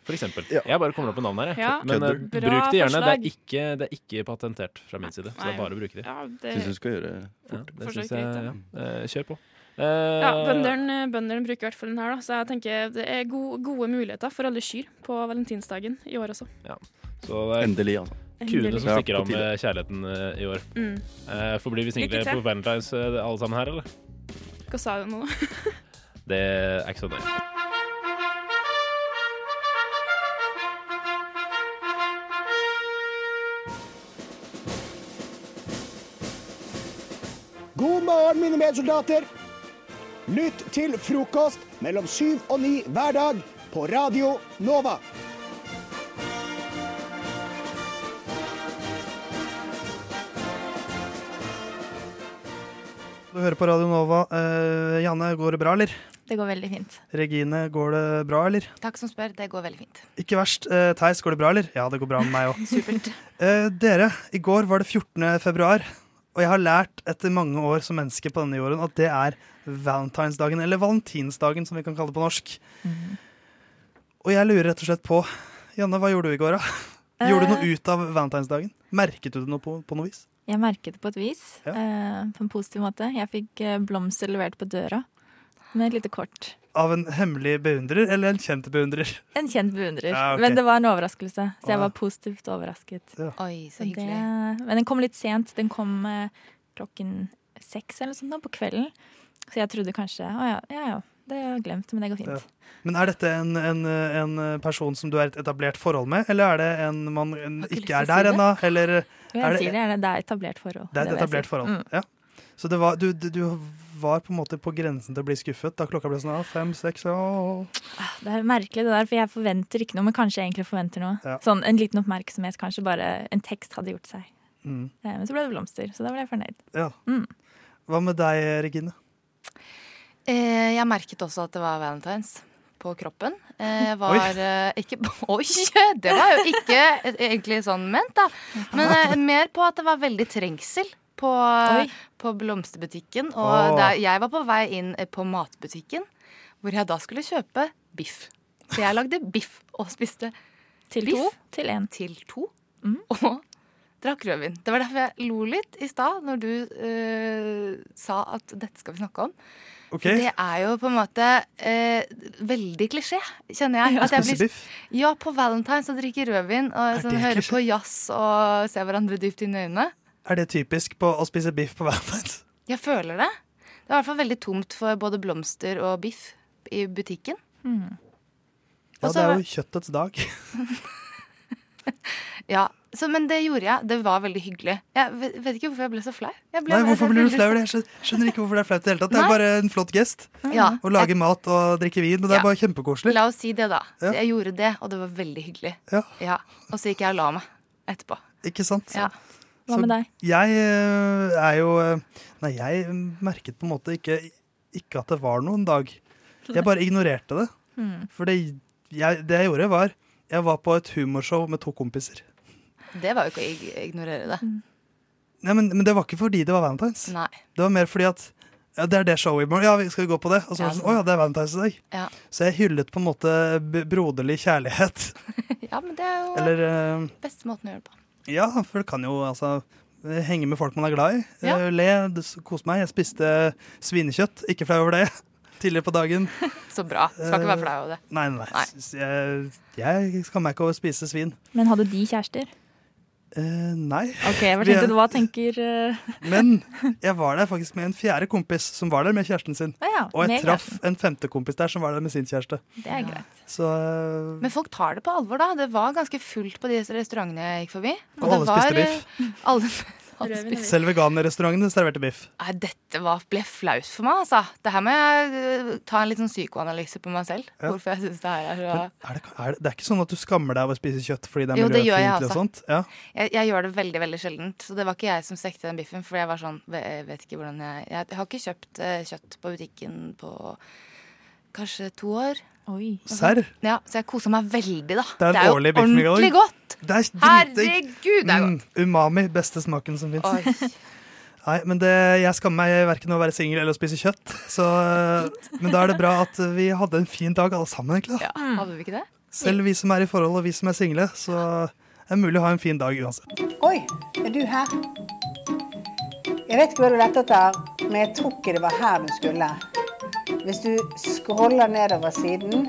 I: For eksempel. Jeg bare kommer opp med navn her, jeg.
X: Ah. Ja,
I: Men eh,
X: Kødder. Bra
I: bruk det gjerne. Det
X: forslag.
I: er, ikke, det er ikke patentert fra min side, så det
X: Nei.
I: er bare å bruke det.
X: Ja, det- Synes du
B: skal gjøre
I: fort. Ja, det
X: Forsøk
I: synes jeg, ja.
X: litt,
I: Eh, kjør på.
X: Ja, Bøndene bønderen bruker i hvert fall den her, da. så jeg tenker det er go gode muligheter for alle kyr på valentinsdagen i år også.
I: Ja. Eh, Så det er
B: Endelig, altså.
I: Kuene som
B: Ja,
I: stikker
B: på
I: av med
B: tide.
I: kjærligheten eh, i år.
X: Mm.
I: Eh, forblir vi single
X: Lykke til.
I: på Valentine's eh, alle sammen her, eller?
X: Hva sa du nå?
I: Det er ikke så nøye.
X: God morgen, mine medsoldater. Lytt til frokost mellom syv og ni hver dag på Radio Nova.
M: Du hører på Radio Nova. Eh, Janne, går det bra, eller?
G: Det går veldig fint.
M: Regine, går det bra, eller?
G: Takk som spør. Det går veldig fint.
M: Ikke verst. Eh, Theis, går det bra, eller? Ja, det går bra med meg òg.
G: *laughs* Supert.
M: Eh, dere, i går var det 14. februar, og jeg har lært etter mange år som menneske på denne jorden at det er valentinsdagen, eller valentinsdagen som vi kan kalle det på norsk.
G: Mhm.
M: Og jeg lurer rett og slett på Janne, hva gjorde du i går,
G: Eh.
M: da? Gjorde du noe ut av valentinsdagen? Merket du det noe på, på noe vis?
G: Jeg merket det på et vis, eh, på en positiv måte. Jeg fikk eh, blomster levert på døra med et lite kort.
M: Av en hemmelig beundrer eller en kjent beundrer?
G: En kjent beundrer.
M: Ja, ok.
G: Men det var en overraskelse, så jeg
M: Å, ja.
G: var positivt overrasket. Oi, så hyggelig. Men den kom litt sent. Den kom eh, klokken seks eller noe sånt nå, på kvelden. Så jeg trodde kanskje Å ja, ja, ja. Det har jeg glemt, men det går
M: Ja.
G: fint.
M: Men er dette en, en, en person som du er i et etablert forhold med, eller er det en man en,
G: lyst
M: ikke
G: til å
M: er
G: si
M: der
G: det.
M: ennå? Eller
G: Jo, jeg sier det gjerne. Det er etablert forhold.
M: Det er et
G: vil jeg
M: etablert
G: si.
M: forhold.
G: Mm.
M: Ja. Så det var, du, du, du var på en måte på grensen til å bli skuffet da klokka ble sånn ah, fem, seks åh.
G: Det er merkelig, det der, for jeg forventer ikke noe, men kanskje jeg egentlig forventer noe.
M: Ja.
G: Sånn En liten oppmerksomhet, kanskje bare en tekst hadde gjort seg.
M: Mm.
G: Eh, Men så ble det blomster, så da ble jeg fornøyd.
M: Ja. Hva med deg, Regine?
K: Eh, jeg merket også at det var valentines på kroppen.
V: *laughs*
K: Eh, var
G: Oi.
K: eh, ikke *laughs* Oi! eh, Det var jo ikke egentlig sånn ment, da. Men eh, mer på at det var veldig trengsel. på
V: Oi.
K: på, på blomsterbutikken. Og
V: Åh.
K: der, jeg var på vei inn eh, på matbutikken, hvor jeg da skulle kjøpe biff. Så jeg lagde biff og spiste
G: Til
K: biff.
G: to? Til Mhm. én.
K: Til to. Og drakk rødvin. Det var derfor jeg lo litt i stad når du eh, sa at dette skal vi snakke om.
M: Ok.
K: For Det er jo på en måte eh, veldig klisjé, kjenner jeg.
M: Ja.
K: jeg
M: Spise biff?
K: ja, på valentines og drikke rødvin og sånn,
M: det
K: høre på jazz og se hverandre dypt inn i øynene.
M: Er det typisk på å spise biff på Valentine's?
K: Jeg føler det. Det er i hvert fall veldig tomt for både blomster og biff i butikken.
M: Ja,
K: Og så
M: det er
K: var-
M: jo kjøttets dag.
K: Ja, så, Men det gjorde jeg. Det var veldig hyggelig. Jeg vet vet ikke hvorfor jeg ble så flau. Jeg ble
M: Nei,
K: jeg
M: hvorfor
K: ble
M: blir du
K: veldig
M: flau over det?
K: sur.
M: Jeg skjø- skjønner ikke hvorfor det er flaut i det hele tatt. Det
K: Nei.
M: er bare en flott gest.
K: Ja.
M: Å lage mat og drikke vin, og det
K: Ja.
M: er bare kjempekoselig.
K: La oss si det, da.
M: Ja.
K: Jeg gjorde det, og det var veldig hyggelig. Ja. Og så gikk jeg og la meg etterpå.
M: Ikke sant?
K: Ja.
M: Så Jeg eh, er jo eh, Nei, jeg merket på en måte ikke, ikke at det var noen dag. Jeg bare ignorerte det.
K: Mm.
M: For det jeg, det jeg gjorde, var Jeg var på et humorshow med to kompiser.
K: Det var jo ikke å ig- ignorere det.
M: Nei, men, men det var ikke fordi det var Valentine's.
K: Nei.
M: Det var mer fordi at ja, det er det showet i morgen. Ja, vi- skal vi gå på det? Og så var det
K: Ja,
M: sånn, å ja, det er Valentine's i dag.
K: Ja.
M: Så jeg hyllet på en måte b- broderlig
K: *laughs*
M: kjærlighet.
K: ja, men det er jo
M: Eller eh,
K: beste måten å gjøre det på.
M: Ja, for det kan jo altså henge med folk man er glad i.
K: Ja.
M: Eh, Le, d- s- kose meg. Jeg spiste svinekjøtt, ikke flau over det, *laughs* tidligere på dagen.
K: *laughs* Så bra. Skal ikke være flau over det.
M: Nei, nei. nei. S- Jeg, jeg skammer meg ikke over å spise svin.
G: Men hadde de kjærester?
M: Eh, nei.
G: Ok, hva
M: Vi er-
G: tenkte du? Hva tenker eh,
M: Men jeg var der faktisk med en fjerde kompis som var der med kjæresten sin.
G: Ja, ja,
M: og jeg
G: med
M: traff en femte kompis der som var der med sin kjæreste.
K: Det er greit.
M: Så eh,
K: Men folk tar det på alvor, da. Det var ganske fullt på de restaurantene jeg gikk forbi.
M: Og alle
K: det var,
M: spiste
K: eh, Alle, alle *laughs* spiste.
M: selv veganerrestauranten serverte biff.
K: Nei, dette var, ble flaut for meg, altså. Det her må jeg eh, ta en litt sånn psykoanalyse på meg selv.
M: Ja.
K: Hvorfor jeg syns det her er så
M: Er det, er det, det er ikke sånn at du skammer deg over å spise kjøtt fordi det er
K: Jo, det gjør jeg
M: miljøfiendtlig og
K: altså.
M: sånt? Ja.
K: jeg, jeg gjør det veldig veldig sjeldent. Så det var ikke jeg som stekte den biffen. For jeg var sånn, ve- jeg vet ikke hvordan jeg Jeg har ikke kjøpt eh, kjøtt på butikken på kanskje to år.
G: Oi.
M: Serr?
K: Ja, så jeg kosa meg veldig, da.
M: Det er en
K: jo
M: årlig biff med
K: ordentlig
M: gang.
K: godt.
M: Det er dritdigg.
K: Herregud, det er godt.
M: Mm, umami, beste smaken som fins.
K: Oi.
M: Nei, men det, Jeg skammer meg verken å være singel eller å spise kjøtt.
K: *laughs*
M: Så, men da er det bra at vi hadde en fin dag alle sammen. egentlig. da.
K: Mm. Hadde vi ikke det?
M: Selv vi som er i forhold og vi som er single, så er det mulig å ha en fin dag uansett.
D: Oi, er du her? Jeg vet ikke hva du lette etter, men jeg tror ikke det var her du skulle. Hvis du scroller nedover siden,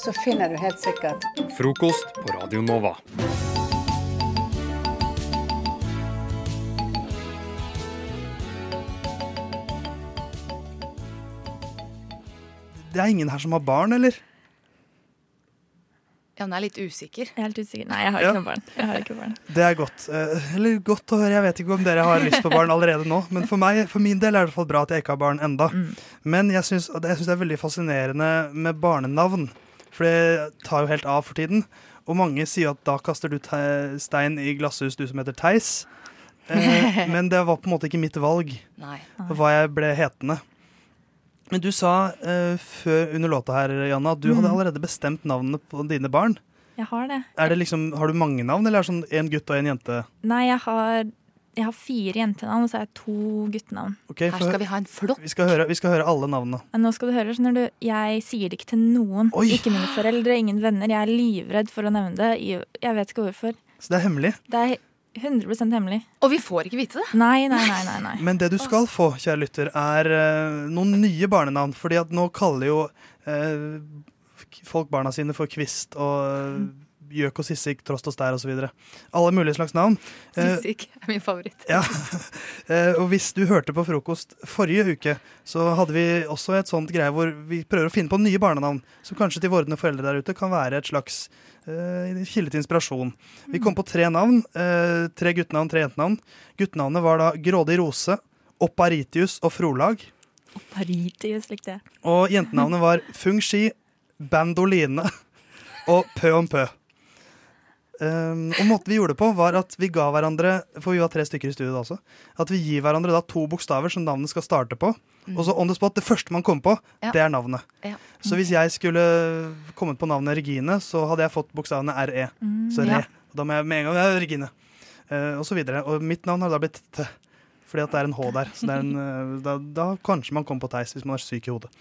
D: så finner du helt sikkert
H: Frokost på Radio Nova.
M: Det er ingen her som har barn, eller?
K: Ja, hun er litt usikker.
G: Jeg er litt usikker. Nei, jeg har
M: Ja.
G: ikke noe barn. Jeg har ikke barn.
M: Det er godt. Eh, Eller godt å høre. Jeg vet ikke om dere har lyst på barn allerede nå, men for, meg, for min del er det i hvert fall bra at jeg ikke har barn enda.
G: Mm.
M: Men jeg syns og det- jeg syns det er veldig fascinerende med barnenavn, for det tar jo helt av for tiden. Og mange sier at da kaster du te- stein i glasshus, du som heter Theis.
G: *laughs*
M: Eh, Men det var på en måte ikke mitt valg
K: Nei.
M: hva jeg ble hetende. Men du sa eh, før under låta her, Janna, at du
G: Mm.
M: hadde allerede bestemt navnene på dine barn.
G: Jeg har det.
M: Er det liksom, har du mange navn, eller er det sånn en gutt og en jente?
G: Nei, jeg har, jeg har fire jentenavn, og så har jeg to guttenavn.
M: Ok, for-
K: ha en flokk.
M: Vi skal høre, vi skal høre alle navnene.
G: Men Nå skal du høre, skjønner du, jeg sier det ikke til noen. Ikke mine foreldre, ingen venner. Jeg er livredd for å nevne det. i- Jeg vet ikke hvorfor.
M: Så det er hemmelig.
G: Det er 100 hemmelig.
K: Og vi får ikke vite det?
G: Nei, nei, nei. nei,
K: *laughs*
G: nei.
M: Men det du skal få, kjære lytter, er eh, noen nye barnenavn. Fordi at nå kaller jo eh, k- folk barna sine for Kvist og eh, Gjøk og Sissik, Trost og Stær osv. Alle mulige slags navn. Eh,
K: Sissik er min favoritt. *laughs*
M: Ja. *laughs* Eh, Og hvis du hørte på frokost forrige uke, så hadde vi også et sånt greie hvor vi prøver å finne på nye barnenavn, som kanskje til vordende foreldre der ute kan være et slags eh, kilde til inspirasjon. Vi kom på tre navn. eh, tre guttenavn, tre jentenavn. Guttenavnet var da Grådig rose, Opparitius og Frolag.
G: Paritius likte jeg.
M: Og jentenavnet var Fung Shi, Bandoline og Pø om Pø. Um, og måten vi gjorde det på, var at vi ga hverandre For vi var tre stykker i studio da også. At vi gir hverandre da to bokstaver som navnet skal starte på. Og så on the spot, det første man kommer på,
K: Ja.
M: det er navnet.
K: Ja.
M: Så hvis jeg skulle kommet på navnet Regine, så hadde jeg fått bokstavene RE.
K: Mm,
M: så re.
K: ja.
M: Og da må jeg med en gang være Regine. Eh, og så videre. Og mitt navn har da blitt T. Fordi at det er en H der. Så det er en, eh, da, da kanskje man kommer på Theis hvis man er syk i hodet.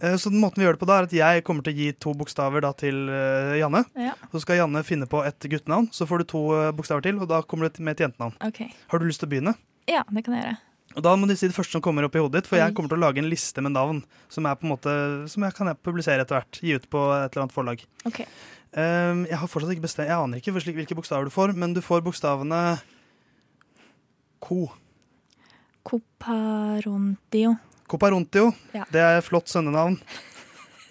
M: Eh, Så den måten vi gjør det på da, er at jeg kommer til å gi to bokstaver da til eh, Janne.
G: Ja.
M: Så skal Janne finne på et guttenavn. Så får du to eh, bokstaver til, og da kommer du til- med et jentenavn.
G: Ok.
M: Har du lyst til å begynne?
G: Ja, det kan jeg gjøre.
M: Og Da må du si det første som kommer opp i hodet ditt, for
G: Oi.
M: jeg kommer til å lage en liste med navn som, er på en måte, som jeg kan publisere etter hvert. Gi ut på et eller annet forlag.
G: Ok.
M: Ehm, jeg har fortsatt ikke bestemt, jeg aner ikke hvor slik- hvilke bokstaver du får, men du får bokstavene Ko.
G: Coparontio.
M: Coparontio.
G: Ja.
M: Det er et flott sønnenavn. eh,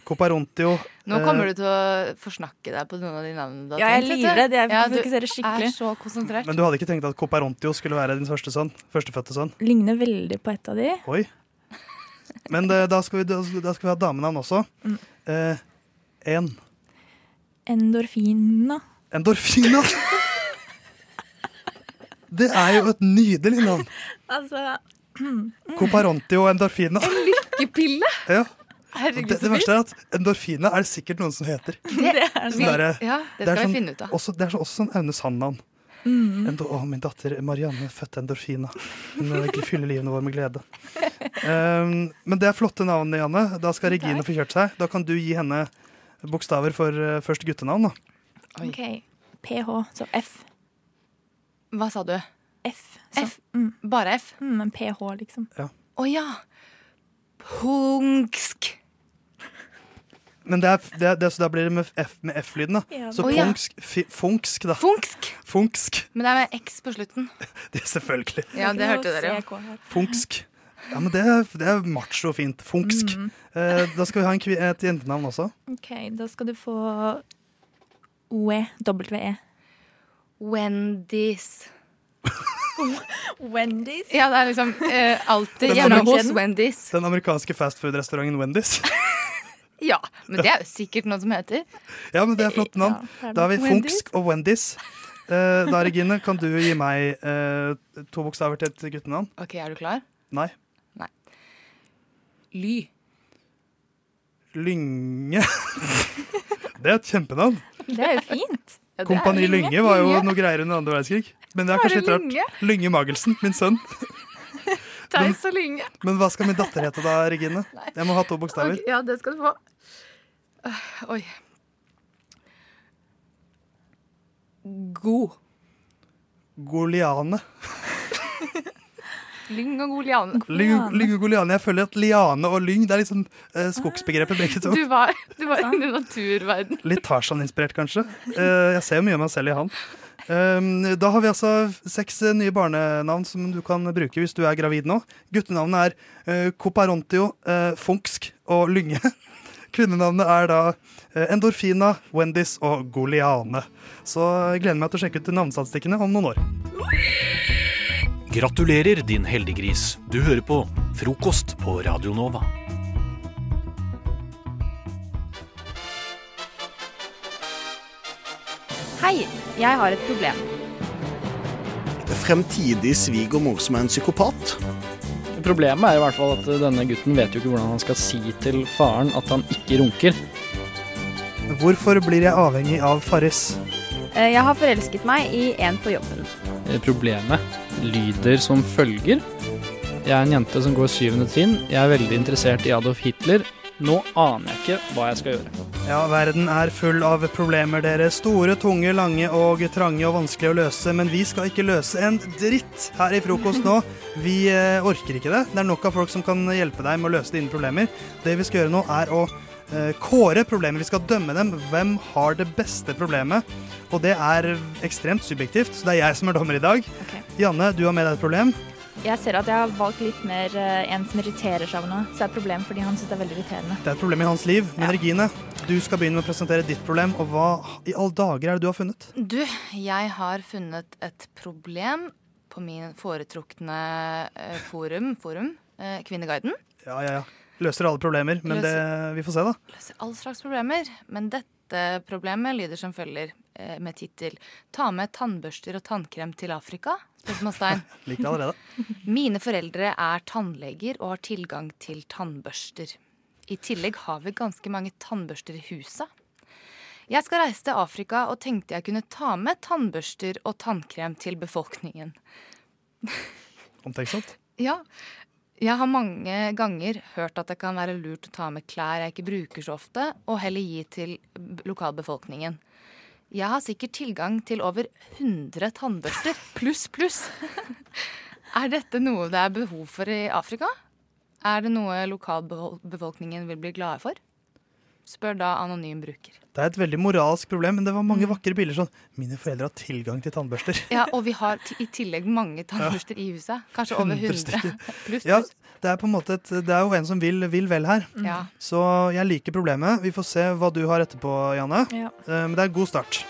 M: Coparontio.
K: Nå kommer du til å forsnakke deg på noen av de navnene. du har
G: Ja, jeg
K: tenkt, vet du.
G: livredd. Jeg
K: Ja, du
G: fokuserer skikkelig.
K: Er så konsentrert.
M: Men du hadde ikke tenkt at Coparontio skulle være din første sønn? Førstefødte sønn?
G: Ligner veldig på et av de.
M: Oi. Men det, da, skal vi, da skal da skal vi ha damenavn også.
G: Mm.
M: Eh, en
G: Endorfina.
M: Endorfina. Det er jo et nydelig navn.
G: Altså
M: Coparontio endorfina.
K: Lykkepille!
M: Ja.
K: Herregud,
M: Det, det
K: så
M: verste er at endorfina er det sikkert noen som heter.
K: Det er
M: Sånn derre-
K: Ja, det
M: er
K: skal vi
M: sånn-
K: finne ut av.
M: Også, det er så- også sånn Aune Sand-navn.
K: Mm.
M: Endo- Å, min datter Marianne fødte endorfina. Hun eh, fyller livene våre med glede. Um, men det er flotte navn, Janne. Da skal Regine få kjørt seg. Da kan du gi henne bokstaver for eh, først guttenavn. Da.
G: OK. PH, så F.
K: Hva sa du?
G: F. Så,
K: F. Bare F?
G: Mm, men PH, liksom.
K: Å ja. Punksk.
M: Men det er, det er, det, så da blir det med F- med F-lyden, da.
K: Ja.
M: Så
K: Å, ja.
M: funksk, fi, funksk, da.
K: Funksk.
M: Funksk. *laughs*
K: Men det er med X på slutten.
M: Det er selvfølgelig.
K: Ja, det hørte dere.
G: jo.
M: Funksk. Ja, men det, er- det er macho og fint. Funksk.
K: Mm-hmm.
G: Mm.
M: Eh, da skal vi ha en, kvi- et jentenavn også.
G: OK, da skal du få E, OE. WE.
K: Wendy's. *laughs*
G: Wendy's?
K: Ja, det er liksom eh, alltid
M: Den
K: hjemme
M: amerik-
K: hos Wendy's.
M: Den amerikanske fastfood-restauranten Wendy's. *laughs*
K: Ja, men det er jo sikkert noe som heter.
M: Ja, men det er flott navn.
K: Ja,
M: Da har vi
K: Wendy's.
M: Funksk og Wendy's. Eh, da, Regine, kan du gi meg eh, to bokstaver til et guttenavn?
K: Ok, er du klar?
M: Nei.
K: Nei. Ly.
M: Lynge. *laughs* Det er et kjempenavn.
G: Det er jo fint.
M: Kompani Lynge var jo noe greier under andre verdenskrig. Men det er
K: Var
M: kanskje
K: det
M: litt rart. Lynge Magelsen, min sønn.
K: Theis og Lynge.
M: Men hva skal min datter hete da, Regine? Jeg må ha to bokstaver.
K: Ok, ja, det skal du få. Øh, Oi. God.
M: Goliane.
K: Lyng og god liane. Ah.
M: Lyng lyng og goliane. Jeg føler at liane og lyng det er liksom eh, skogsbegrepet begge to.
K: Du var, du var inne i naturverden.
M: Litt Tarzan-inspirert, kanskje. Eh, jeg ser jo mye av meg selv i han. Eh, da har vi altså seks eh, nye barnenavn som du kan bruke hvis du er gravid nå. Guttenavnet er eh, Coparontio, eh, Funksk og Lynge. *laughs* Kvinnenavnet er da eh, Endorfina, Wendy's og Goliane. Så jeg gleder meg til å sjekke ut navnestatistikkene om noen år.
O: Gratulerer, din heldiggris. Du hører på Frokost på Radio Nova.
J: Hei, jeg har et problem.
N: Fremtidig svigermor som er en psykopat.
Q: Problemet er i hvert fall at denne gutten vet jo ikke hvordan han skal si til faren at han ikke runker.
M: Hvorfor blir jeg avhengig av Farris?
J: Eh, Jeg har forelsket meg i en på jobben.
Q: Eh, Problemet lyder som følger. Jeg er en jente som går syvende trinn. Jeg er veldig interessert i Adolf Hitler. Nå aner jeg ikke hva jeg skal gjøre.
M: Ja, verden er full av problemer, dere. Store, tunge, lange og trange og vanskelig å løse. Men vi skal ikke løse en dritt her i frokost nå. Vi eh, orker ikke det. Det er nok av folk som kan hjelpe deg med å løse dine problemer. Det vi skal gjøre nå, er å eh, kåre problemer. Vi skal dømme dem. Hvem har det beste problemet? Og det er ekstremt subjektivt, så det er jeg som er dommer i dag. Janne, du har med deg et problem.
G: Jeg ser at jeg har valgt litt mer eh, en som irriterer seg over noe. Så det er et problem fordi han syns det er veldig irriterende.
M: Det er et problem i hans liv. Men Regine, du skal begynne med å presentere ditt problem, og hva i alle dager er det du har funnet?
K: Du, jeg har funnet et problem på min foretrukne eh, forum, forum eh, Kvinneguiden.
M: Ja, ja, ja. Løser alle problemer, men det, vi får se, da.
K: Løser all slags problemer, men dette problemet lyder som følger eh, med tittel Ta med tannbørster og tannkrem til Afrika? Spørsmålstegn.
M: *laughs* Liker det allerede.
K: Mine foreldre er tannleger og har tilgang til tannbørster. I tillegg har vi ganske mange tannbørster i huset. Jeg skal reise til Afrika og tenkte jeg kunne ta med tannbørster og tannkrem til befolkningen.
M: Omtenksomt.
K: Ja. Jeg har mange ganger hørt at det kan være lurt å ta med klær jeg ikke bruker så ofte, og heller gi til b- lokalbefolkningen. Jeg har sikkert tilgang til over 100 tannbørster, pluss, pluss. *laughs* Er dette noe det er behov for i Afrika? Er det noe lokalbefolkningen vil bli glade for? Spør da anonym bruker.
M: Det er et veldig moralsk problem, men det var mange vakre bilder sånn Mine foreldre har tilgang til tannbørster.
K: Mm. Ja, Og vi har t i tillegg mange tannbørster i huset. Kanskje
M: *laughs*
K: over
M: 100
K: 100.
M: stykker.
K: *laughs* Pluss,
M: Ja,
K: pluss. Mm.
M: det er på en måte et, Det er jo en som vil, vil vel her.
K: Ja.
M: Så jeg liker problemet. Vi får se hva du har etterpå, Janne.
L: Ja.
M: Eh, Men det er en god start.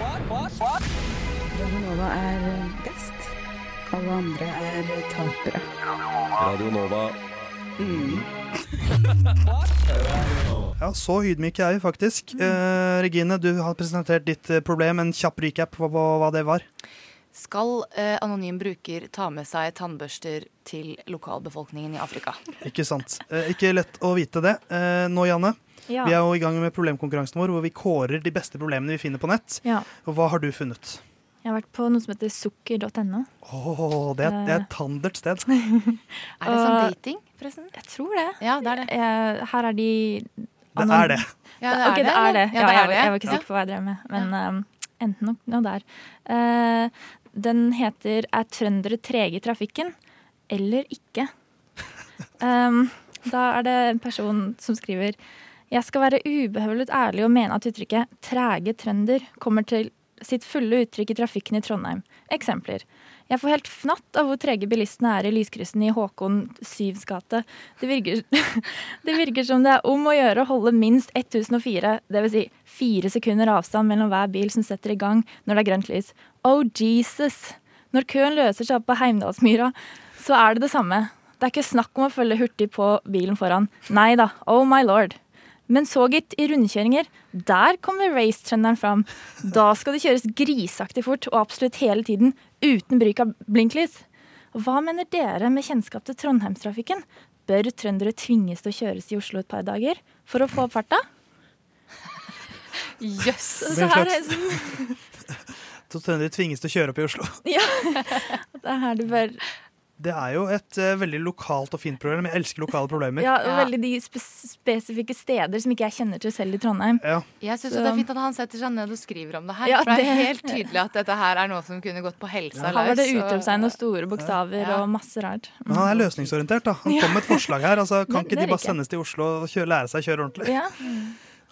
L: Radio Nova er best. Alle andre er tapere.
H: Radio Nova.
M: Ja, Så ydmyke er vi faktisk.
K: Mm.
M: Eh, Regine, du har presentert ditt eh, problem. En kjapp recap på på hva det var.
K: Skal eh, anonym bruker ta med seg tannbørster til lokalbefolkningen i Afrika?
M: Ikke sant. Eh, Ikke lett å vite det. Eh, Nå, Janne,
K: Ja.
M: vi er jo i gang med problemkonkurransen vår, hvor vi kårer de beste problemene vi finner på nett.
G: Ja.
M: Og hva har du funnet?
G: Jeg har vært på noe som heter sukker.no.
M: Åh, det, er- det er et tandert
G: *laughs*
M: sted.
K: Er det sånn
G: Og-
K: dating, forresten?
G: Jeg tror det.
K: Ja, det er det.
G: Jeg, her er de
M: Det er det.
K: Ja, det
G: Ok,
K: er det,
G: det er det.
K: eller?
G: Ja,
K: Ja, det er
G: jeg,
K: det.
G: jeg var ikke
K: Ja.
G: sikker på hva jeg drev med, men um, enten nok nå der. Eh, den heter 'Er trøndere trege i trafikken?' eller ikke.
K: *laughs*
G: Um, da er det en person som skriver Jeg skal være ubehøvlet ærlig og mene at uttrykket 'trege trønder' kommer til sitt fulle uttrykk i trafikken i Trondheim. Eksempler. Jeg får helt fnatt av hvor trege bilistene er i lyskryssene i Håkon Syvs gate. Det virker, det virker som det er om å gjøre å holde minst 1004, dvs. Si fire sekunder avstand mellom hver bil som setter i gang når det er grønt lys. Oh Jesus! Når køen løser seg opp på Heimdalsmyra, så er det det samme. Det er ikke snakk om å følge hurtig på bilen foran. Nei da, oh my lord. Men så gitt, i rundkjøringer, der kommer racetrenderen fram. Da skal det kjøres grisaktig fort, og absolutt hele tiden, uten bruk av blinklys. Hva mener dere med kjennskap til Trondheimstrafikken? Bør trøndere tvinges til å kjøres i Oslo et par dager for å få opp farta?
K: Jøss!
G: Så her er
M: Veldig
G: det
M: klart.
G: sånn
M: Så trøndere tvinges til å kjøre opp i Oslo. *laughs*
G: Ja. Det er her du bør
M: Det er jo et eh, veldig lokalt og fint problem. Jeg elsker lokale problemer.
G: Ja, og veldig de spe spesifikke steder som ikke jeg kjenner til selv i Trondheim.
M: Ja.
K: Jeg syns
G: Så-
K: det er fint at han setter seg ned og sånn skriver om det her.
G: Ja,
K: for det er
G: det-
K: helt tydelig at dette her er noe som kunne gått på helsa
G: Her var det
K: og-
G: utropstegn og store bokstaver og masse rart.
M: Men han er løsningsorientert, da. Han kom med et forslag her. Altså,
G: *laughs* Det-
M: kan ikke
G: Mm. det
M: de
G: er
M: bare
G: ikke.
M: sendes til Oslo og kjøre, lære seg å kjøre ordentlig?
G: Ja.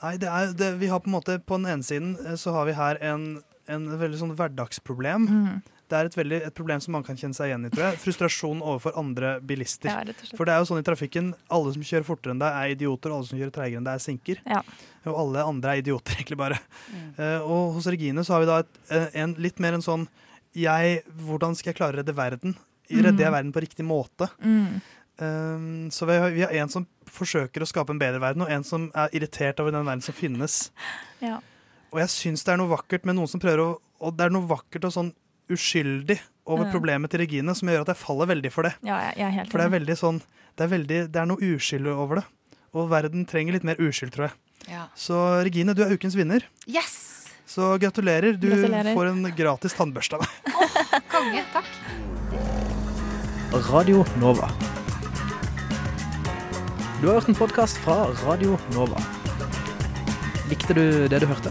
M: Nei, det er, det, vi har på en måte På den ene siden eh, så har vi her en, en veldig sånn hverdagsproblem.
G: Mm.
M: Det er et, veldig, et problem som mange kan kjenne seg igjen i, tror jeg. Frustrasjon overfor andre bilister.
G: Ja, rett og slett.
M: For det er jo sånn i trafikken, alle som kjører fortere enn deg, er idioter, og alle som kjører treigere enn deg, er sinker.
G: Ja.
M: Og alle andre er idioter, *laughs* egentlig bare.
G: Mm.
M: Eh, og hos Regine så har vi da et, eh, en, litt mer en sånn jeg, Hvordan skal jeg klare å redde verden? Redder jeg
G: Mm.
M: verden på riktig måte?
G: Mm.
M: Um, så vi har, vi har en som forsøker å skape en bedre verden, og en som er irritert over den verden som finnes.
G: *laughs* Ja.
M: Og jeg syns det er noe vakkert med noen som prøver å Og det er noe vakkert og sånn uskyldig over
G: Ja.
M: problemet til Regine som gjør at jeg faller veldig for det.
G: Mm. Ja, jeg, jeg er helt
M: For det er
G: enig.
M: veldig sånn Det er, veldig, det er noe uskyld over det. Og verden trenger litt mer uskyld, tror jeg.
K: Ja.
M: Så Regine, du er ukens vinner.
K: Yes!
M: Så gratulerer. Du
K: Gratulerer.
M: får en gratis tannbørste av meg.
K: Konge, takk.
R: Radio Nova. Du har hørt en podkast fra Radio Nova. Likte du det du hørte?